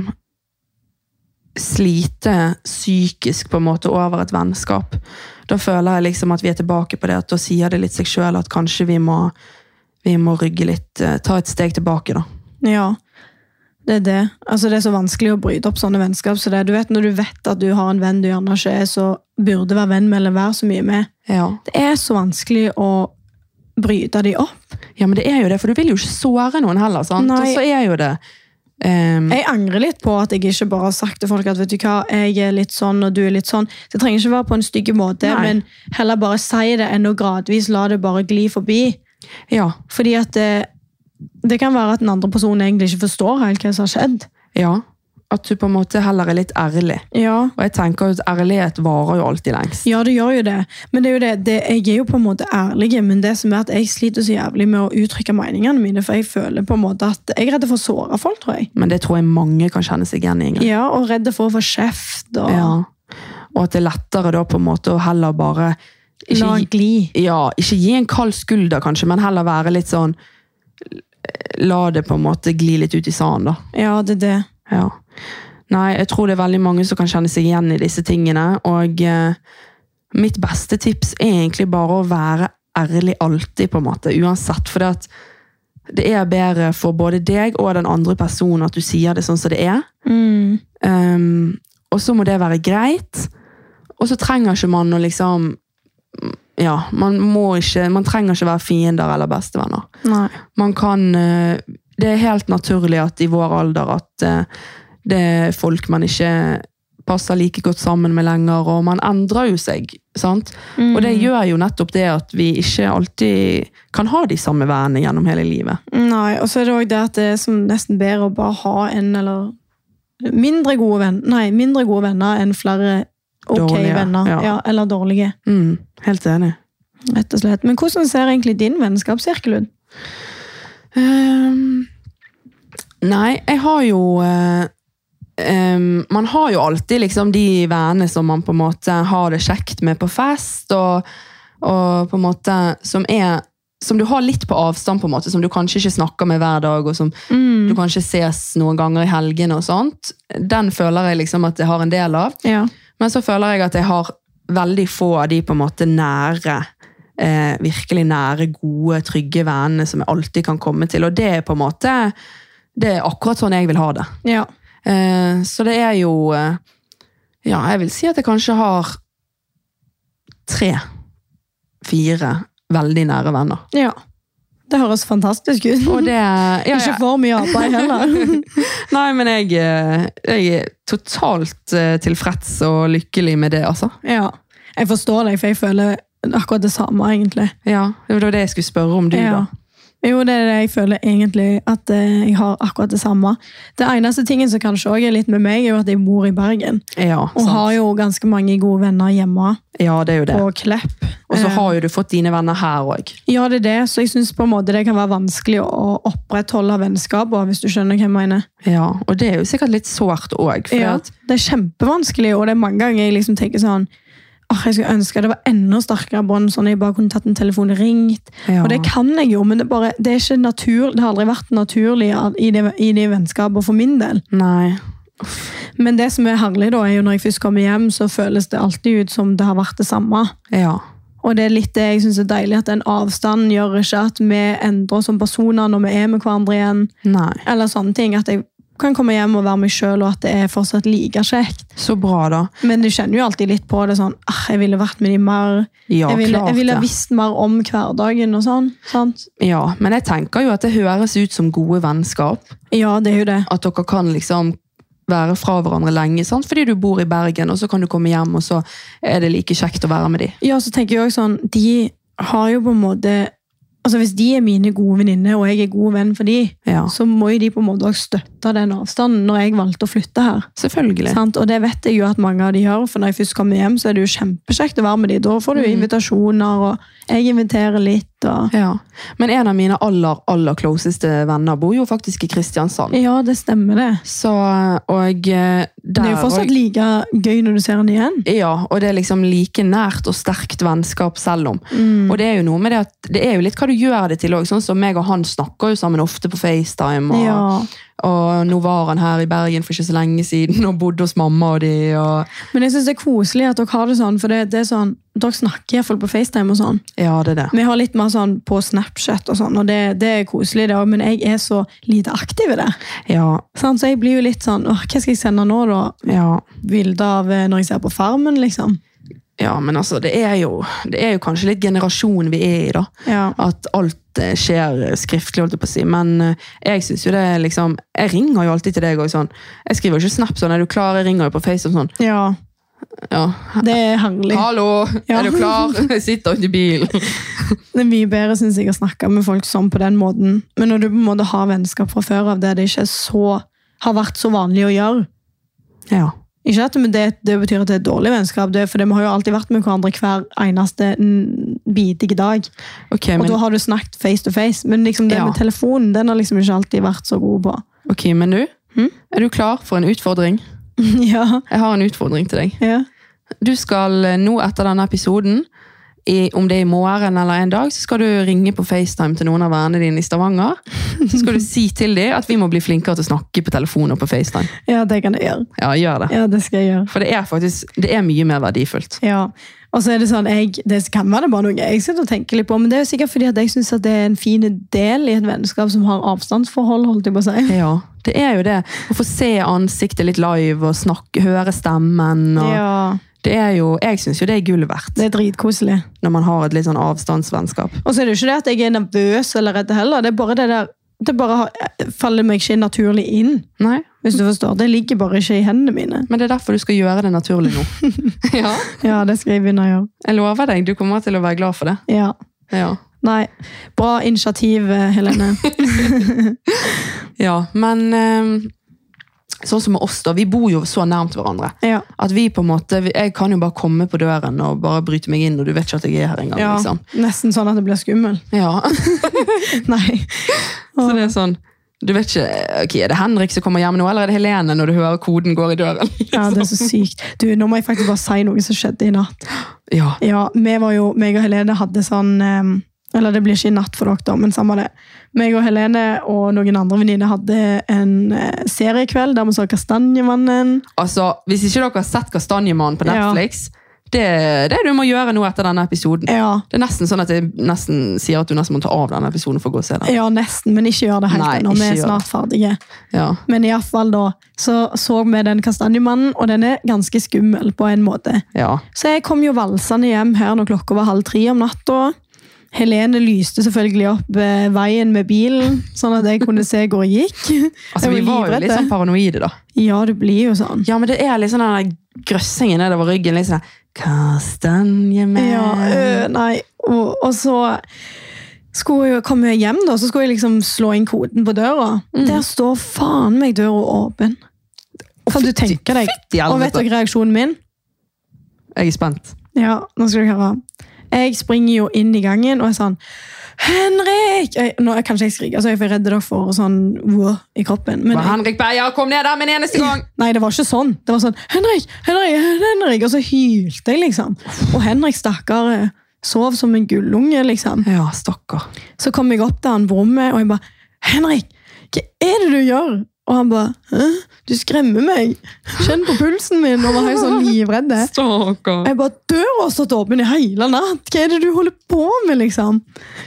slite psykisk på en måte over et vennskap. Da føler jeg liksom at vi er tilbake på det at da sier det litt seg sjøl at kanskje vi må, vi må rygge litt, eh, ta et steg tilbake, da. Ja, det er det. Altså, det er så vanskelig å bryte opp sånne vennskap. Så det, er- du vet, når du vet at du har en venn du gjerne ikke er så burde være venn med eller være så mye med, Ja. det er så vanskelig å bryte de opp. ja, men det er jo det, for du vil jo ikke såre noen heller, sant? Nei. Og så er jo det ehm, Jeg angrer litt på at jeg ikke bare har sagt til folk at vet du hva, jeg er litt sånn og du er litt sånn. Så Det trenger ikke være på en stygg måte, Nei. men heller bare si det enn å gradvis la det bare gli forbi. Ja. Fordi at det, det kan være at den andre personen egentlig ikke forstår helt hva som har skjedd. Ja. At du på en måte heller er litt ærlig. Ja. Og jeg tenker jo at ærlighet varer jo alltid lengst. ja, det gjør jo det. Men det er jo det, det, jeg er jo på en måte ærlig, men det som er at jeg sliter så jævlig med å uttrykke meningene mine, for jeg føler på en måte at jeg er redd for å såre folk, tror jeg. Men det tror jeg mange kan kjenne seg igjen i. Ingrid. Ja, og redd for å få kjeft og Ja. Og at det er lettere da på en måte å heller bare ikke, la gli. gi- ja, ikke gi en kald skulder, kanskje, men heller være litt sånn La det på en måte gli litt ut i sanden, da. Ja, det er det. Ja. Nei, jeg tror det er veldig mange som kan kjenne seg igjen i disse tingene. Og eh, mitt beste tips er egentlig bare å være ærlig alltid, på en måte. Uansett. For det, at det er bedre for både deg og den andre personen at du sier det sånn som det er. Mm. Um, og så må det være greit. Og så trenger ikke man å liksom Ja, man må ikke Man trenger ikke være fiender eller bestevenner. Nei. Man kan eh, Det er helt naturlig at i vår alder at eh, det er folk man ikke passer like godt sammen med lenger, og man endrer jo seg. sant? Og det gjør jo nettopp det at vi ikke alltid kan ha de samme vennene gjennom hele livet. Nei, og så er det også det at det er som nesten bedre å bare ha en eller mindre gode venner, nei, mindre gode venner enn flere ok Dårlige, venner, ja. ja. eller dårlige, Mm, helt enig. rett og slett. Men hvordan ser egentlig din vennskapssirkel ut? Ehm, nei, jeg har jo eh, ehm, Man har jo alltid liksom de vennene som man på en måte har det kjekt med på fest, og, og på en måte som er som du har litt på avstand, på en måte, som du kanskje ikke snakker med hver dag, og som Mm. du kanskje ses noen ganger i helgene og sånt. Den føler jeg liksom at jeg har en del av. Ja. Men så føler jeg at jeg har veldig få av de på en måte nære, eh, virkelig nære, gode, trygge vennene som jeg alltid kan komme til. Og det er på en måte det er akkurat sånn jeg vil ha det. ja. Eh, så det er jo eh, Ja, jeg vil si at jeg kanskje har tre, fire veldig nære venner. Ja. Det høres fantastisk ut. Og det ja, Mhm. Ikke ja. for mye arbeid heller. Nei, men jeg, eh, jeg er totalt eh, tilfreds og lykkelig med det, altså. ja. Jeg forstår deg, for jeg føler akkurat det samme, egentlig. Ja, Det var det jeg skulle spørre om du, Ja. da. Jo, det er det jeg føler egentlig, at eh, jeg har akkurat det samme. Det eneste tingen som kanskje også er litt med meg, er jo at jeg bor i Bergen. Ja, Og sant. har jo ganske mange gode venner hjemme ja det er jo det. på Klepp. Og så Eh, har jo du fått dine venner her òg. Ja, det er det, så jeg syns på en måte det kan være vanskelig å opprettholde vennskap, og hvis du skjønner hva jeg mener. Ja, og det er jo sikkert litt sårt òg. Ja, det er kjempevanskelig, og det er mange ganger jeg liksom tenker sånn Åh, jeg skulle ønske det var enda sterkere bånd, sånn at jeg bare kunne tatt en telefon og ringt. Ja. Og det kan jeg jo, men det, er bare, det, er ikke natur, det har aldri vært naturlig i de, i de vennskapene for min del. Nei. Men det som er herlig da, er jo når jeg først kommer hjem, så føles det alltid ut som det har vært det samme. Ja. Og det er litt det jeg syns er deilig, at den avstanden gjør ikke at vi endrer oss som personer når vi er med hverandre igjen, Nei. eller sånne ting. At jeg kan komme hjem og være meg sjøl, og at det er fortsatt like kjekt. Så bra, da. Men du kjenner jo alltid litt på det sånn ah, Jeg ville vært med de mer. Ja, jeg ville, klart jeg ville det. visst mer om hverdagen og sånn. Sant? Ja, men jeg tenker jo at det høres ut som gode vennskap. Ja, det er jo det. At dere kan liksom være fra hverandre lenge, sant? fordi du bor i Bergen, og så kan du komme hjem, og så er det like kjekt å være med dem. Ja, så tenker jeg også sånn, de har jo på en måte Altså Hvis de er mine gode venninner, og jeg er god venn for de, Ja. så må jo de på en måte også støtte den avstanden når jeg valgte å flytte her. Selvfølgelig. Sant? Og det vet jeg jo at mange av de gjør, for når jeg først kommer hjem, så er det jo kjempekjekt å være med de. Da får du Mm. invitasjoner, og jeg inviterer litt, og Ja. Men en av mine aller, aller closeste venner bor jo faktisk i Kristiansand. Ja, det stemmer, det. Så, og eh, der Det er jo fortsatt like gøy når du ser den igjen. Ja, og det er liksom like nært og sterkt vennskap selv om. Og det er jo noe med det at det er jo litt hva du gjør det til òg. Sånn som meg og han snakker jo sammen ofte på FaceTime. Og, Ja. og nå var han her i Bergen for ikke så lenge siden og bodde hos mamma og de. Og, Men jeg syns det er koselig at dere har det sånn, for det, det er sånn, dere snakker iallfall på FaceTime og sånn. ja, det er det. Vi har litt mer sånn på Snapchat og sånn, og det, det er koselig, det også, men jeg er så lite aktiv i det. Ja, Sant? Så jeg blir jo litt sånn Åh, hva skal jeg sende nå, da? ja. Bilde av eh, når jeg ser på Farmen, liksom. Ja, men altså, det er, jo, det er jo kanskje litt generasjonen vi er i, da. Ja. At alt eh, skjer skriftlig, holdt jeg på å si. Men eh, jeg synes jo det er liksom Jeg ringer jo alltid til deg og sånn. Jeg skriver jo ikke Snap sånn. Er du klar? Jeg ringer jo på FaceTime sånn. Ja, det er herlig. Hallo, Ja. er du klar? Jeg sitter ute i bilen. Det er mye bedre synes jeg, å snakke med folk sånn på den måten. Men når du på en måte har vennskap fra før av der det ikke er så, har vært så vanlig å gjøre Ja. Ikke at det, det betyr at det er et dårlig vennskap, det, er- for vi har jo alltid vært med hverandre hver eneste mm, bidige dag. Ok, Og men, da har du snakket face to face, men liksom det Ja. med telefonen den har liksom ikke alltid vært så god på. ok, men du? Hm? Er du klar for en utfordring? ja, Jeg har en utfordring til deg. ja. Du skal eh, nå etter denne episoden, i, om det er i morgen eller en dag, så skal du ringe på FaceTime til noen av vennene dine i Stavanger. Så skal du si til dem at vi må bli flinkere til å snakke på telefon og på FaceTime. ja, det kan jeg gjøre. Ja, gjør det. Ja, det skal jeg gjøre. For det er faktisk det er mye mer verdifullt. Ja, og så er det sånn, jeg, det kan være det bare noe jeg sitter og tenker litt på, men det er jo sikkert fordi at jeg synes at det er en fin del i et vennskap som har avstandsforhold, holdt jeg på å si. Ja, det er jo det. Å få se ansiktet litt live og snakke, høre stemmen. Og, Ja, det er jo, jeg syns jo det er gull verdt det er dritkoselig. når man har et litt sånn avstandsvennskap. Og så er det jo ikke det at jeg er nervøs eller redd heller, det er bare det der, det bare har- faller meg ikke naturlig inn, Nei, hvis du forstår. Det ligger bare ikke i hendene mine. Men det er derfor du skal gjøre det naturlig nå. ja, Ja, det skal jeg begynne å gjøre. Jeg lover deg, du kommer til å være glad for det. Ja. Ja, Nei, bra initiativ, Helene. ja Men eh, sånn som med oss, da. Vi bor jo så nærmt hverandre. Ja, At vi på en måte, Jeg kan jo bare komme på døren og bare bryte meg inn, og du vet ikke at jeg er her engang. ja. Liksom. nesten sånn at det blir skummel. Ja. Nei. Så det er sånn du vet ikke, ok, Er det Henrik som kommer hjem nå, eller er det Helene når du hører koden går i døren? Ja, det er så sykt. Du, nå må jeg faktisk bare si noe som skjedde i natt. Ja, Ja, vi var jo, meg og Helene hadde sånn, em, eller det blir ikke i natt for dere da, men samme det. Meg og Helene og noen andre venninner hadde en eh, seriekveld der vi så Kastanjemannen. altså, Hvis ikke dere har sett Kastanjemannen på Ja. Netflix, Det er det du må gjøre nå etter denne episoden. Ja, Det er nesten sånn at jeg nesten sier at du nesten må ta av denne episoden for å gå og se den. ja nesten, men ikke gjør det helt Nei, ennå. Vi ikke er gjør snart ferdige. Ja. Men iallfall da, så så vi den kastanjemannen, og den er ganske skummel på en måte. ja. Så jeg kom jo valsende hjem her når klokka var halv tre om natta. Helene lyste selvfølgelig opp eh, veien med bilen, sånn at jeg kunne se hvor jeg gikk. Altså, vi Jeg var jo livredd, litt sånn det. paranoide, da. Ja, det blir jo sånn. Ja, men det er litt sånn den der grøssingen nedover ryggen. Litt sånn Kastanjemenn. Ja, eh. øh, nei. Og, og så skulle jeg, kom jeg hjem, da, så skulle jeg liksom slå inn koden på døra. Mm. Der står faen meg døra åpen. Kan du fytti- tenke deg? fytti Og vet helvete. dere reaksjonen min? Jeg er spent. Ja, nå skal du høre. Jeg springer jo inn i gangen og er sånn Henrik! Jeg, nå er kanskje jeg skriker, altså jeg er for redd dere for sånn wow, i kroppen. Men Bare, Henrik Beyer, kom ned der med en eneste gang! Nei, det var ikke sånn. Det var sånn Henrik, Henrik, Henrik! Og så hylte jeg, liksom. Og Henrik, stakkar, sov som en gullunge, liksom. Ja, stakkar. Så kom jeg opp til han på rommet, og jeg bare 'Henrik, hva er det du gjør?' Og han bare 'Hæ? Du skremmer meg. Kjenn på pulsen min.' Og var helt sånn livredd. Og Stakkar. Jeg bare 'Døra har stått åpen i hele natt. Hva er det du holder på med?' liksom?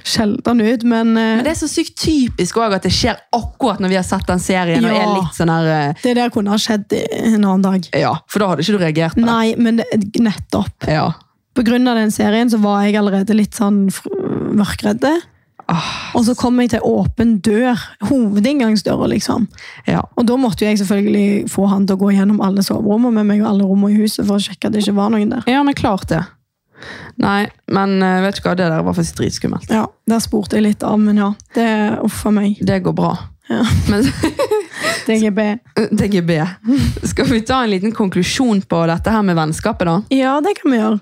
Skjelte han ut, men, eh, Men det er så sykt typisk også at det skjer akkurat når vi har sett den serien. og Ja. er litt sånn her... eh, det der kunne ha skjedd en annen dag. Ja, for da hadde ikke du reagert på det. Nei, men det, nettopp. Ja. På grunn av den serien så var jeg allerede litt sånn fr- mørkredde. Ah, Og så kom jeg til åpen dør. Hovedinngangsdøra, liksom. ja. Og da måtte jo jeg selvfølgelig få han til å gå gjennom alle soverommene med meg og alle rommene i huset for å sjekke at det ikke var noen der. ja, men klart det. Nei, men eh, vet du hva, det der var faktisk dritskummelt. Ja, Der spurte jeg litt av, men ja. Det uff a meg. Det går bra. Ja. Men DGB. DGB, skal vi ta en liten konklusjon på dette her med vennskapet da? Ja, det kan vi gjøre.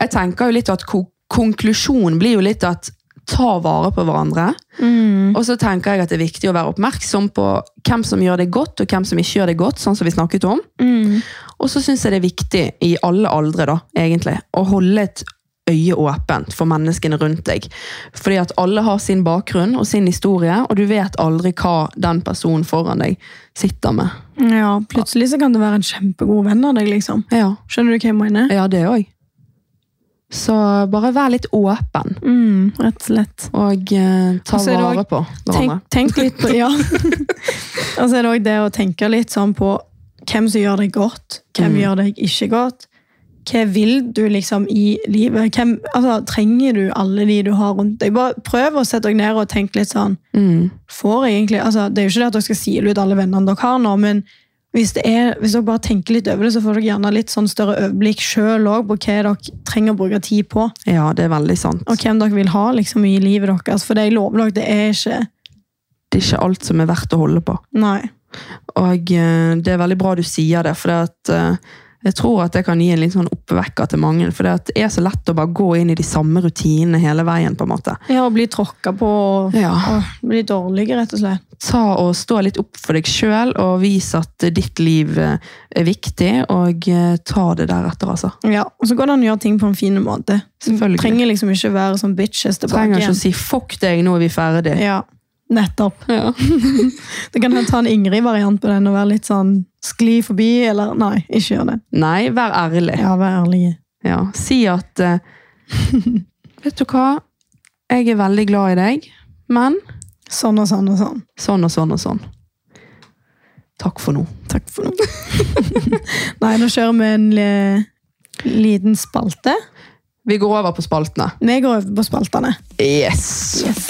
Jeg tenker jo litt at ko konklusjonen blir jo litt at ta vare på hverandre. Og så tenker jeg at det er viktig å være oppmerksom på hvem som gjør det godt, og hvem som ikke gjør det godt, sånn som vi snakket om. Mm. Og så syns jeg det er viktig i alle aldre da, egentlig, å holde et øye åpent for menneskene rundt deg. Fordi at alle har sin bakgrunn og sin historie, og du vet aldri hva den personen foran deg sitter med. Ja, plutselig så kan det være en kjempegod venn av deg, liksom. Ja, Skjønner du hva jeg mener? ja det òg. Så bare vær litt åpen, Mm, rett og slett. og eh, ta Og så er det vare også- på hverandre. Tenk, tenk litt på Ja. Og så er det òg det å tenke litt sånn på hvem som gjør deg godt, hvem Mm. gjør deg ikke godt. Hva vil du liksom i livet? Hvem, altså, trenger du alle de du har rundt deg? Bare prøv å sette dere ned og tenke litt sånn Mm. får jeg egentlig, altså Det er jo ikke det at dere skal sile ut alle vennene dere har nå, men hvis, det er, hvis dere bare tenker litt over det, så får dere gjerne litt sånn større overblikk sjøl òg på hva dere trenger å bruke tid på, Ja, det er veldig sant. og hvem dere vil ha liksom i livet deres. For det jeg lover dere, det er ikke Det er ikke alt som er verdt å holde på. Nei. Og eh, det er veldig bra du sier det, for det at, eh, jeg tror at det kan gi en litt sånn oppvekker til mange. For det at det er så lett å bare gå inn i de samme rutinene hele veien. på en måte. Ja, å bli tråkka på og, Ja, og bli dårlig, rett og slett. Ta og Stå litt opp for deg sjøl og vis at ditt liv eh, er viktig, og eh, ta det deretter, altså. Ja, Og så går det an å gjøre ting på en fin måte. Selvfølgelig. Trenger liksom ikke være sånn bitches tilbake Trenger ikke å igjen. si 'fuck deg, nå er vi ferdig'. Ja, nettopp. Ja. Det kan ta en Ingrid-variant på den og være litt sånn skli forbi, eller nei, ikke gjør det. Nei, vær ærlig. Ja, vær ærlig. Ja, si at eh, Vet du hva? Jeg er veldig glad i deg, men Sånn og sånn og sånn. sånn og sånn og sånn. Takk for nå. Takk for nå. Nei, nå kjører vi en li liten spalte. Vi går over på spaltene. Vi går over på spaltene. Yes! Yes.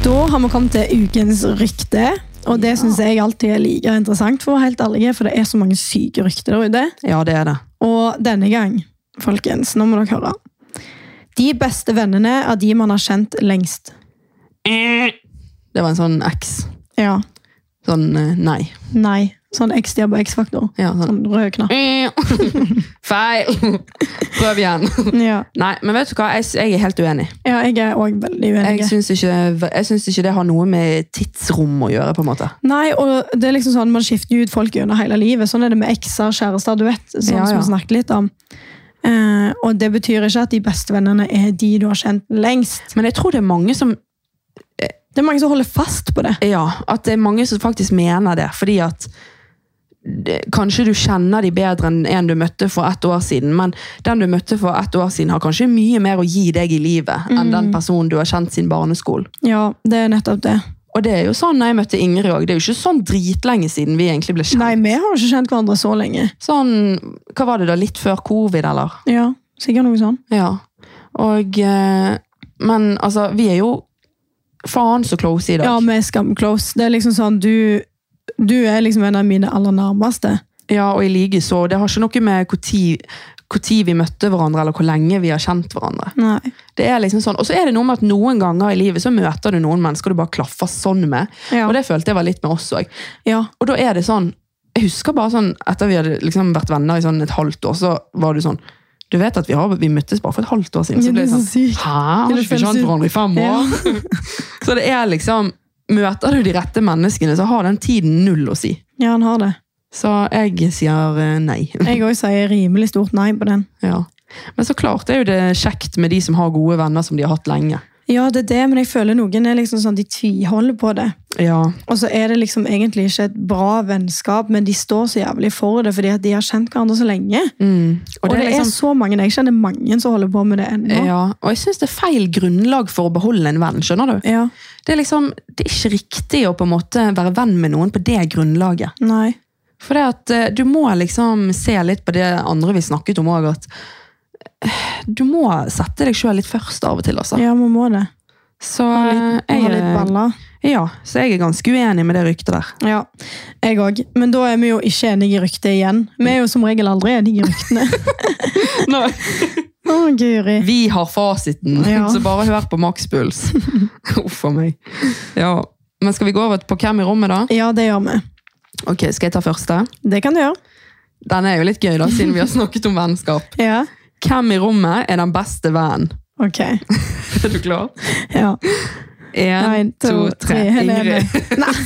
Da har vi kommet til ukens rykte. Og det syns jeg alltid er like interessant, for å være helt ærlig, for det er så mange syke rykter der ute. Ja, det er det. Og denne gang, folkens, nå må dere høre. De beste vennene er de man har kjent lengst. Det var en sånn X. Ja. Sånn eh, nei. Nei. Sånn X-dia på X-faktor. Ja, Sånn sånn. rød knapp. Feil! Prøv igjen. Ja, Nei, men vet du hva? Jeg, s- jeg er helt uenig. ja jeg er òg veldig uenig. Jeg syns ikke, jeg syns ikke det har noe med tidsrom å gjøre. på en måte. Nei, og det er liksom sånn Man skifter jo ut folk gjennom hele livet. Sånn er det med ekser, kjærester, du vet. Sånn Ja, som ja. vi snakket litt om. Eh, og det betyr ikke at de beste vennene er de du har kjent lengst. Men jeg tror det er mange som Det er mange som holder fast på det. Ja, at det er mange som faktisk mener det. Fordi at det- Kanskje du kjenner de bedre enn en du møtte for ett år siden, men den du møtte for ett år siden, har kanskje mye mer å gi deg i livet Mm. enn den personen du har kjent siden barneskolen. Ja, det er nettopp det. Og det er jo sånn når jeg møtte Ingrid òg. Det er jo ikke sånn dritlenge siden vi egentlig ble kjent. Nei, vi har jo ikke kjent hverandre så lenge. Sånn, hva var det da? Litt før covid, eller? Ja, sikkert noe sånn. Ja. Og eh, Men altså, vi er jo faen så close i dag. Ja, vi er skamclose. Det er liksom sånn, du, du er liksom en av mine aller nærmeste. Ja, og i like så. Det har ikke noe med hvor tid, hvor tid vi møtte hverandre, eller hvor lenge vi har kjent hverandre. Nei. Det er liksom sånn. Og så er det noe med at noen ganger i livet så møter du noen mennesker du bare klaffer sånn med. Ja. Og det følte jeg var litt med oss òg. Ja. Og da er det sånn Jeg husker bare sånn, etter vi hadde liksom vært venner i sånn et halvt år, så var du sånn Du vet at vi, har, vi møttes bare for et halvt år siden. Ja, Så det ble det er så sånn sykt. Hæ? Har Det ikke vi føles kjent ut- hverandre i fem Ja. år? Så det er liksom Møter du de rette menneskene, så har den tiden null å si. ja, han har det. Så jeg sier eh, nei. Jeg òg sier rimelig stort nei på den. Ja. Men så klart er jo det kjekt med de som har gode venner som de har hatt lenge. Ja, det er det, men jeg føler noen er liksom sånn, de tviholder på det. Ja, Og så er det liksom egentlig ikke et bra vennskap, men de står så jævlig for det fordi at de har kjent hverandre så lenge. mm. Og det, er, sånn, liksom, så mange. Jeg kjenner mange som holder på med det ennå. ja. Og jeg syns det er feil grunnlag for å beholde en venn. skjønner du? Ja. Det er liksom, det er ikke riktig å på en måte være venn med noen på det grunnlaget. Nei. For det at eh, du må liksom se litt på det andre vi snakket om òg, at eh, du må sette deg sjøl litt først av og til. altså. Ja, vi må det. Så, Ha litt, eh, ha litt jeg, eh, baller. ja, så jeg er ganske uenig med det ryktet der. Ja, jeg òg. Men da er vi jo ikke enige i ryktet igjen. Vi er jo som regel aldri enige i ryktene. Å, Guri. Vi har fasiten, Ja. så bare hør på makspuls. Uff a meg. Ja. Men skal vi gå over på hvem i rommet, da? Ja, det gjør vi. Ok, Skal jeg ta første? Det kan du gjøre. Den er jo litt gøy, da, siden vi har snakket om vennskap. Ja. Hvem i rommet er den beste vennen? Ok. Er du klar? Ja. Én, En, to, tre. Helene. Ingrid. Nei,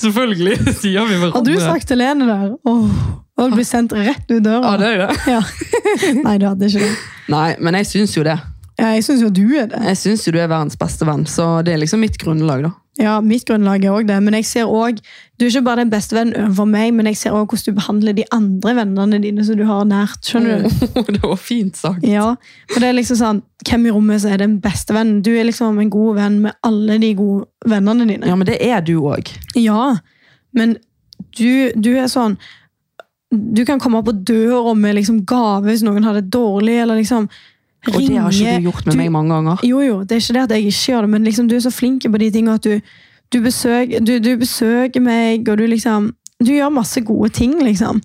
Selvfølgelig sier vi hverandre. har du sagt Helene der? Åh, og du blir sendt rett ut ja, døra. det er jo det. Ja. Nei, du hadde ikke det. Nei, men jeg syns jo det. Ja, jeg syns jo du er det. Jeg syns jo du er verdens beste venn, så det er liksom mitt grunnlag, da. Ja, Mitt grunnlag er òg det, men jeg ser også, du er ikke bare den beste vennen overfor meg, men jeg ser òg hvordan du behandler de andre vennene dine som du har nært. Mm. skjønner du? det var fint sagt. Ja, for det er liksom sånn, Hvem i rommet som er den beste vennen? Du er liksom en god venn med alle de gode vennene dine. Ja, men det er du òg. Ja, men du, du er sånn Du kan komme på døra med liksom gave hvis noen har det dårlig, eller liksom Og det har ikke du gjort med Du- meg mange ganger. Jo, jo, det er ikke det at jeg ikke gjør det, men liksom, du er så flink på de tingene at du, du, besøker, du, du besøker meg, og du liksom Du gjør masse gode ting, liksom.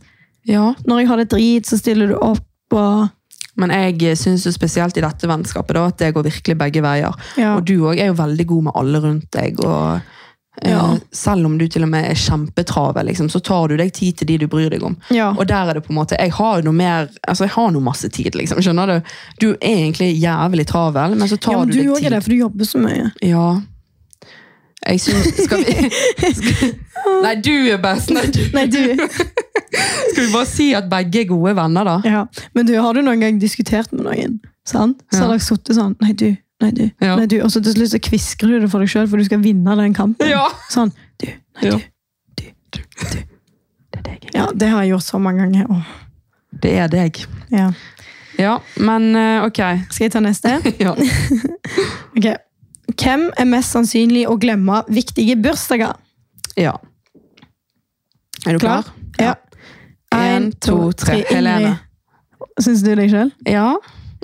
Ja, Når jeg har det drit, så stiller du opp, og Men jeg syns spesielt i dette vennskapet da, at det går virkelig begge veier. ja. Og du òg er jo veldig god med alle rundt deg. og eh, Ja. Selv om du til og med er kjempetravel, liksom, så tar du deg tid til de du bryr deg om. ja. Og der er det på en måte, Jeg har jo noe mer, altså jeg har noe masse tid, liksom. skjønner Du Du er egentlig jævlig travel, men så tar ja, men du, du deg òg tid. er det, for du jobber så mye. Ja. Jeg syns Skal vi skal, Nei, du er best! Nei, du. Nei, du Skal vi bare si at begge er gode venner, da? Ja, men du, har du noen gang diskutert med noen? Sant? Så Ja. har dere sittet sånn Nei, du. Nei, du. Ja. Nei, du. Og så til slutt så kvisker du det for deg sjøl, for du skal vinne den kampen. Ja. Sånn. Du. Nei, Ja. du. Du. Du. du. Det er deg. Ja, det har jeg gjort så mange ganger. Åh. Det er deg. Ja. Ja, men eh, ok. Skal jeg ta neste? Ja. Ok. Hvem er mest sannsynlig å glemme viktige bursdager? Ja. Er du klar? Klar? Ja. En, En, to, tre. Ingrid. Helene. Syns du deg sjøl? Ja,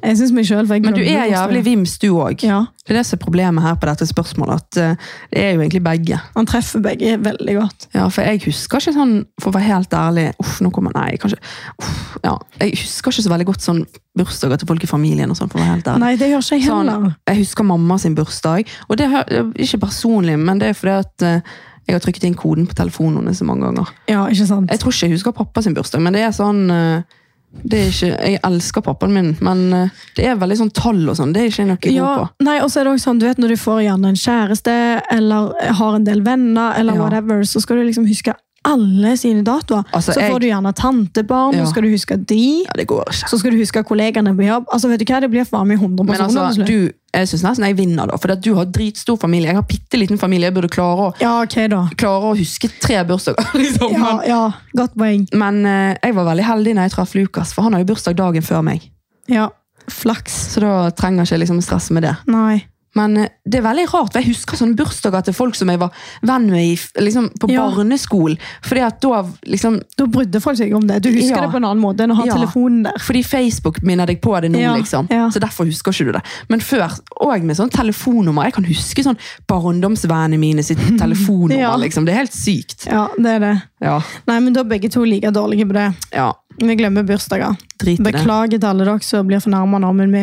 Jeg syns meg sjøl. men du er jævlig vims, du òg. Ja, Det er det som er problemet her på dette spørsmålet, at eh, det er jo egentlig begge. Han treffer begge veldig godt. Ja, For jeg husker ikke sånn, for å være helt ærlig Uff, nå kommer Nei, kanskje uff, ja. Jeg husker ikke så veldig godt sånn bursdager til folk i familien og sånn, for å være helt ærlig. Nei, det gjør ikke jeg Sånn, heller. jeg husker mamma sin bursdag, og det er ikke personlig, men det er fordi at eh, jeg har trykket inn koden på telefonen hennes så mange ganger. Ja, ikke sant? Jeg tror ikke jeg husker pappa sin bursdag, men det er sånn eh, det er ikke, Jeg elsker pappaen min, men eh, det er veldig sånn tall og sånn. Det er ikke jeg noe Ja, god på. nei, og så er det også sånn, du vet Når du får gjerne en kjæreste eller har en del venner, eller Ja. whatever, så skal du liksom huske alle sine datoer. Altså, så jeg- får du gjerne tantebarn, Ja. så skal du huske de. Ja, det går ikke. Så skal du huske kollegaene på jobb. Altså, vet du hva? Det blir faen meg 100 Men personer. til altså, slutt. du, jeg syns nesten jeg vinner, da. For at du har dritstor familie. Jeg har bitte liten familie. Jeg burde klare å, Ja, ok da. klare å huske tre bursdager. Liksom. Ja, ja, godt poeng. Men, men eh, jeg var veldig heldig når jeg traff Lukas, for han har jo bursdag dagen før meg. Ja, flaks. Så da trenger jeg ikke liksom stresse med det. Nei. Men eh, det er veldig rart, for jeg husker sånne bursdager til folk som jeg var venn med i, f- liksom, på Ja. barneskolen. Fordi at da liksom Da brydde folk seg om det. Du husker Ja. det på en annen måte enn å ha Ja. telefonen der. Fordi Facebook minner deg på det nå, Ja, liksom. ja. Så derfor husker ikke du det. Men før, òg med sånn telefonnummer. Jeg kan huske sånn barndomsvennene mine sitt telefonnummer. Ja. liksom. Det er helt sykt. Ja, det er det. Ja. Nei, men da er begge to like dårlige på det. ja. Vi glemmer bursdager. Drit i det. Beklager til alle dere som blir fornærma nå, men vi,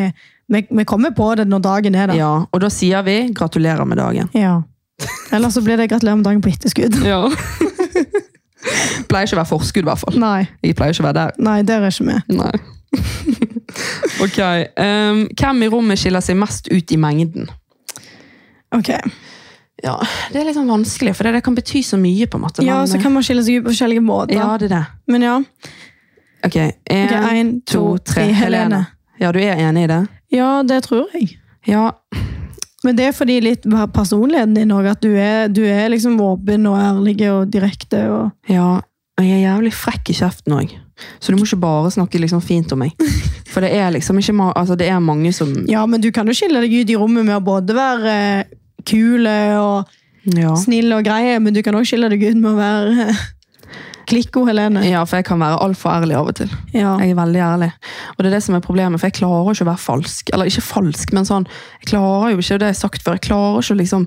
vi, vi kommer på det når dagen er der. Ja, og da sier vi gratulerer med dagen. Ja. Eller så blir det gratulerer med dagen på etterskudd. Ja. pleier ikke å være forskudd, i hvert fall. Nei, Jeg pleier ikke å være der. nei, der er ikke vi. Nei. ok. ehm, hvem i rommet skiller seg mest ut i mengden? Ok. Ja, Det er litt sånn vanskelig, for det, det kan bety så mye. på en måte. Ja, men, så eh, kan man skille seg ut på forskjellige måter. ja, det er det. Men ja. Ok, ehm, Ok, en, Én, to, tre. Helene. Ja, du er enig i det? Ja, det tror jeg. Ja. Men det er fordi litt personligheten din òg, at du er, du er liksom åpen og ærlig og direkte. og... ja. og Jeg er jævlig frekk i kjeften òg, så du må ikke bare snakke liksom fint om meg. For det er liksom ikke ma altså, det er mange som Ja, men du kan jo skille deg ut i rommet med å både være eh, kul og Ja. snill og grei, men du kan òg skille deg ut med å være eh, klikko, Helene. ja, for jeg kan være altfor ærlig av og til. Ja. Jeg er veldig ærlig. Og det er det som er problemet, for jeg klarer ikke å være falsk. Eller ikke falsk, men sånn Jeg klarer jo ikke og det jeg har sagt før. Jeg klarer ikke å liksom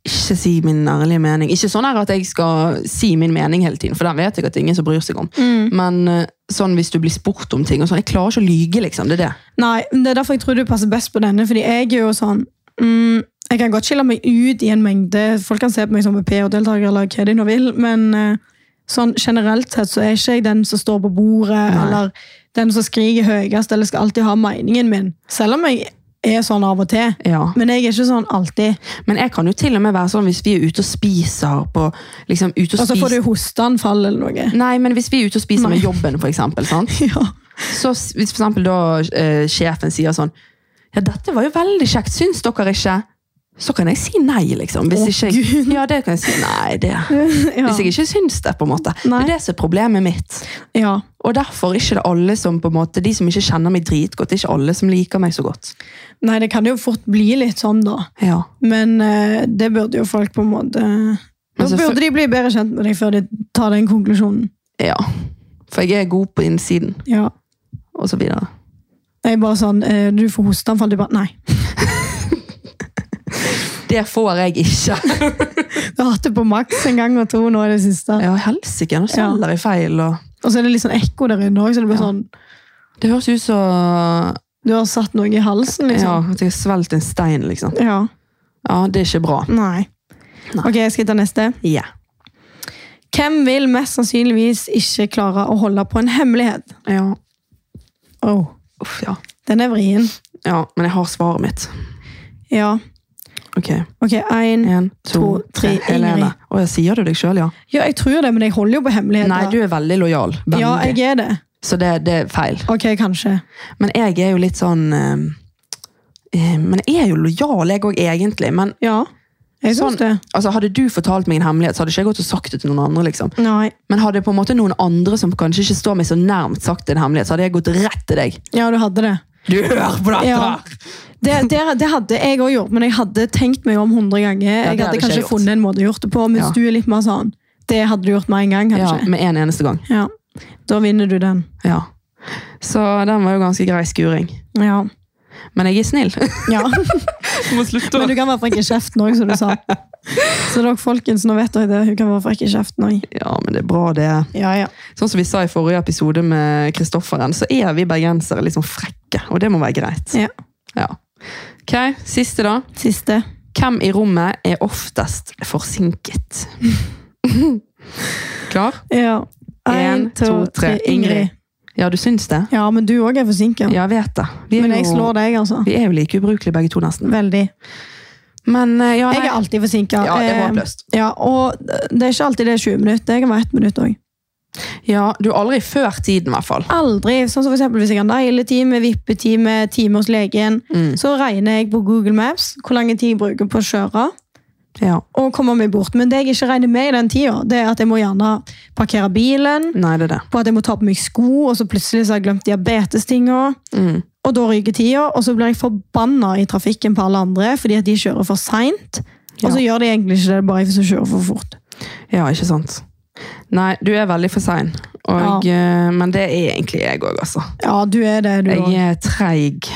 ikke si min ærlige mening. Ikke sånn her at jeg skal si min mening hele tiden, for den vet jeg at det er ingen som bryr seg om. Mm. Men eh, sånn hvis du blir spurt om ting og sånn Jeg klarer ikke å lyge, liksom. Det er det. Nei, men det er derfor jeg tror du passer best på denne, fordi jeg er jo sånn mm, Jeg kan godt skille meg ut i en mengde. Folk kan se på meg som en PH-deltaker eller hva de nå vil, men eh, sånn generelt sett så er ikke jeg den som står på bordet, Nei. eller den som skriker høyest, eller skal alltid ha meningen min. Selv om jeg er sånn av og til. Ja. Men jeg er ikke sånn alltid. Men jeg kan jo til og med være sånn hvis vi er ute og spiser på liksom ute og Og så Altså, får spiser du hosteanfall eller noe. Nei, men hvis vi er ute og spiser med jobben, for eksempel, sant? Ja. Så s- hvis for eksempel da eh, sjefen sier sånn Ja, dette var jo veldig kjekt, syns dere ikke? Så kan jeg si nei, liksom. Hvis Å, ikke jeg, ja, det kan jeg si. Nei, det. Ja. Hvis jeg ikke syns det, på en måte. Nei. Det er det som er problemet mitt. ja. Og derfor er ikke det alle som på en måte, de som ikke kjenner meg dritgodt, det er ikke alle som liker meg så godt. Nei, det kan jo fort bli litt sånn, da. Ja. Men eh, det burde jo folk på en måte Da så- burde de bli bedre kjent med deg før de tar den konklusjonen. ja. For jeg er god på innsiden, Ja. og så videre. Jeg er bare sånn eh, Du får hosteanfall. Du bare Nei. Det får jeg ikke. Jeg har hatt det på maks en gang og to nå i det siste. Ja, helsike, nå selger jeg feil. Og... Og så er det litt sånn ekko der inne òg, så det blir Ja. sånn Det høres ut som Du har satt noe i halsen, ja, liksom. at jeg har svelget en stein, liksom. Ja. Ja, det er ikke bra. Nei. Nei. Ok, jeg skal ta neste. Ja. Hvem vil mest sannsynligvis ikke klare å holde på en hemmelighet? Ja. Oh, Uff, ja. den er vrien. ja. Men jeg har svaret mitt. Ja. Ok. Ok, én En, to, To, tre. tre. Helene. Ingrid. Å, jeg sier du deg sjøl, ja? Ja, jeg tror det, men jeg holder jo på hemmeligheter. Nei, du er veldig lojal. Veldig. Ja, jeg er det. Så det, det er feil. Ok, kanskje. Men jeg er jo litt sånn eh, eh, Men jeg er jo lojal, jeg òg, egentlig. Men Ja, jeg Sånn. syns det. altså, hadde du fortalt meg en hemmelighet, så hadde ikke jeg gått og sagt det til noen andre. liksom. Nei. Men hadde på en måte noen andre som kanskje ikke står meg så nærmt, sagt en hemmelighet, så hadde jeg gått rett til deg. Ja, du hadde det. Du hører på dette! Ja. Det, det, det hadde jeg òg gjort, men jeg hadde tenkt meg om 100 ganger. det Jeg hadde hadde ikke jeg kanskje gjort. funnet en måte å gjort det på, mens Ja. du er litt mer sånn Det hadde du gjort med en gang, Ja, kanskje. med en eneste gang. Ja. Da vinner du den. Ja. Så den var jo ganske grei skuring. Ja. Men jeg er snill. ja. Må slutte Men du kan være frekk i kjeften òg, som du sa. Så dere folkens, nå vet dere det. Hun kan være frekk i kjeften òg. Ja, men det er bra det. Ja, ja. Sånn som vi sa i forrige episode med Kristofferen, så er vi bergensere litt sånn frekke, og det må være greit. Ja. Ja. Ok, siste da. Siste. Hvem i rommet er oftest forsinket? Klar? Ja. En, En, to, tre. Ingrid. Ja, du syns det? Ja, men du òg er forsinka. Ja, jeg vet det. Vi er, Men jeg jo, slår deg, altså. vi er jo like ubrukelige begge to, nesten. Veldig. Men eh, ja, Jeg er Eh, alltid forsinka. Ja, det er håpløst. Ja, og det er ikke alltid det er 20 minutter. Jeg kan være ett minutt òg. Ja, du er aldri før tiden, i hvert fall. Aldri. sånn som for eksempel Hvis jeg har negletime, vippetime, time hos legen, Mm. så regner jeg på Google Maps hvor lang tid jeg bruker på å kjøre. Ja. Og komme meg bort. Men det jeg ikke regner med i den tida, det er at jeg må gjerne parkere bilen, Nei, det er det. på at jeg må ta på meg sko, og så plutselig så har jeg glemt diabetestinga. Mm. Og da ryker tida, og så blir jeg forbanna i trafikken på alle andre fordi at de kjører for seint. Og så gjør de egentlig ikke det, bare jeg som kjører for fort. Ja, ikke sant. Nei, du er veldig for sein. Og, eh, Men det er egentlig jeg òg, altså. Ja, du er det, du Jeg òg. er treig.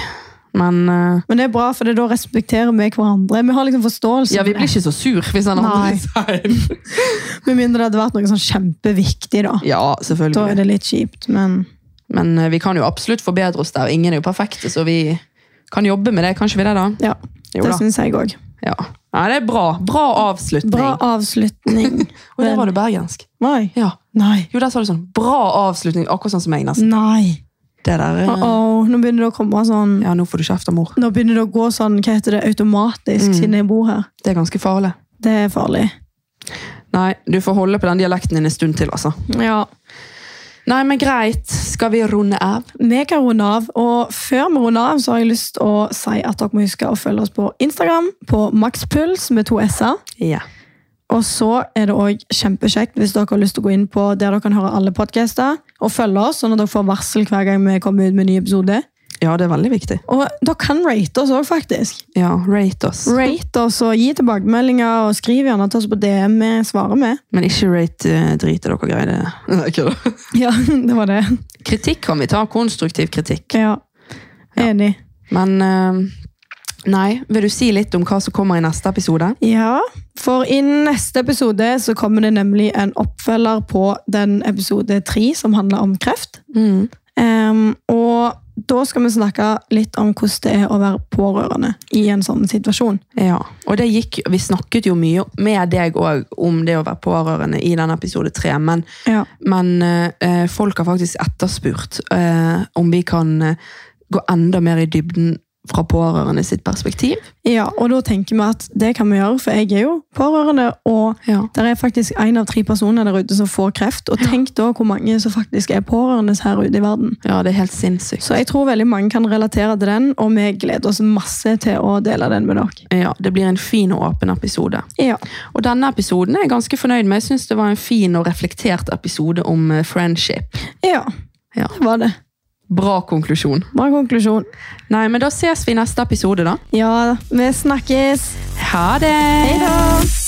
Men eh, Men det er bra, for det er da respekterer vi hverandre. Vi har liksom forståelse. ja, vi for blir det. ikke så sur hvis han andre Nei. er sein. Med mindre det hadde vært noe sånn kjempeviktig, da. Ja, Da er selvfølgelig. det litt kjipt, men Men eh, vi kan jo absolutt forbedre oss der. Ingen er jo perfekte, så vi kan jobbe med det. Kanskje vi det, da? ja. Jo det da. syns jeg òg. Ja. Nei, det er bra. Bra avslutning. Bra avslutning. Og der var du bergensk. Nei. Ja. Nei. Jo, der sa du sånn Bra avslutning, akkurat sånn som meg, nesten. Nei. Det der eh, Åh, Nå begynner det å komme sånn Ja, nå får du kjeft av mor. Nå begynner det å gå sånn, hva heter det, automatisk, Mm. siden jeg bor her. Det er ganske farlig. Det er farlig. Nei, du får holde på den dialekten din en stund til, altså. Ja. Nei, men greit. Skal vi runde av? Vi kan runde av, og før vi runder av, så har jeg lyst til å si at dere må huske å følge oss på Instagram, på makspuls med to s-er. Ja. Og så er det òg kjempekjekt hvis dere har lyst til å gå inn på der dere kan høre alle podcaster, og følge oss, sånn at dere får varsel hver gang vi kommer ut med en ny episode. Ja, det er veldig viktig. Og dere kan rate oss òg, faktisk. Ja, rate oss. Rate oss og gi tilbakemeldinger, og skriv gjerne til oss på DM. Vi svarer med. Men ikke rate eh, drit i dere greier det. Nei, kødda. Ja, det var det. Kritikk kan vi ta. Konstruktiv kritikk. Ja. Enig. Men eh, Nei, vil du si litt om hva som kommer i neste episode? Ja, for i neste episode så kommer det nemlig en oppfølger på den episode tre som handler om kreft. Mm. Ehm, og da skal vi snakke litt om hvordan det er å være pårørende i en sånn situasjon. Ja, og det gikk, Vi snakket jo mye med deg òg om det å være pårørende i den episode tre, men, Ja. men eh, folk har faktisk etterspurt eh, om vi kan eh, gå enda mer i dybden fra pårørende sitt perspektiv. ja, og da tenker vi at det kan vi gjøre, for jeg er jo pårørende, og Ja. det er faktisk én av tre personer der ute som får kreft. Og tenk da hvor mange som faktisk er pårørende her ute i verden. det er helt sinnssykt. Så jeg tror veldig mange kan relatere til den, og vi gleder oss masse til å dele den med dere. Ja, Det blir en fin og åpen episode. Ja. Og denne episoden er jeg ganske fornøyd med. Jeg syns det var en fin og reflektert episode om eh, friendship. Ja, Ja. det var det. Bra konklusjon. Bra konklusjon. Nei, men Da ses vi i neste episode, da. Ja, vi snakkes. Ha det! Hei da!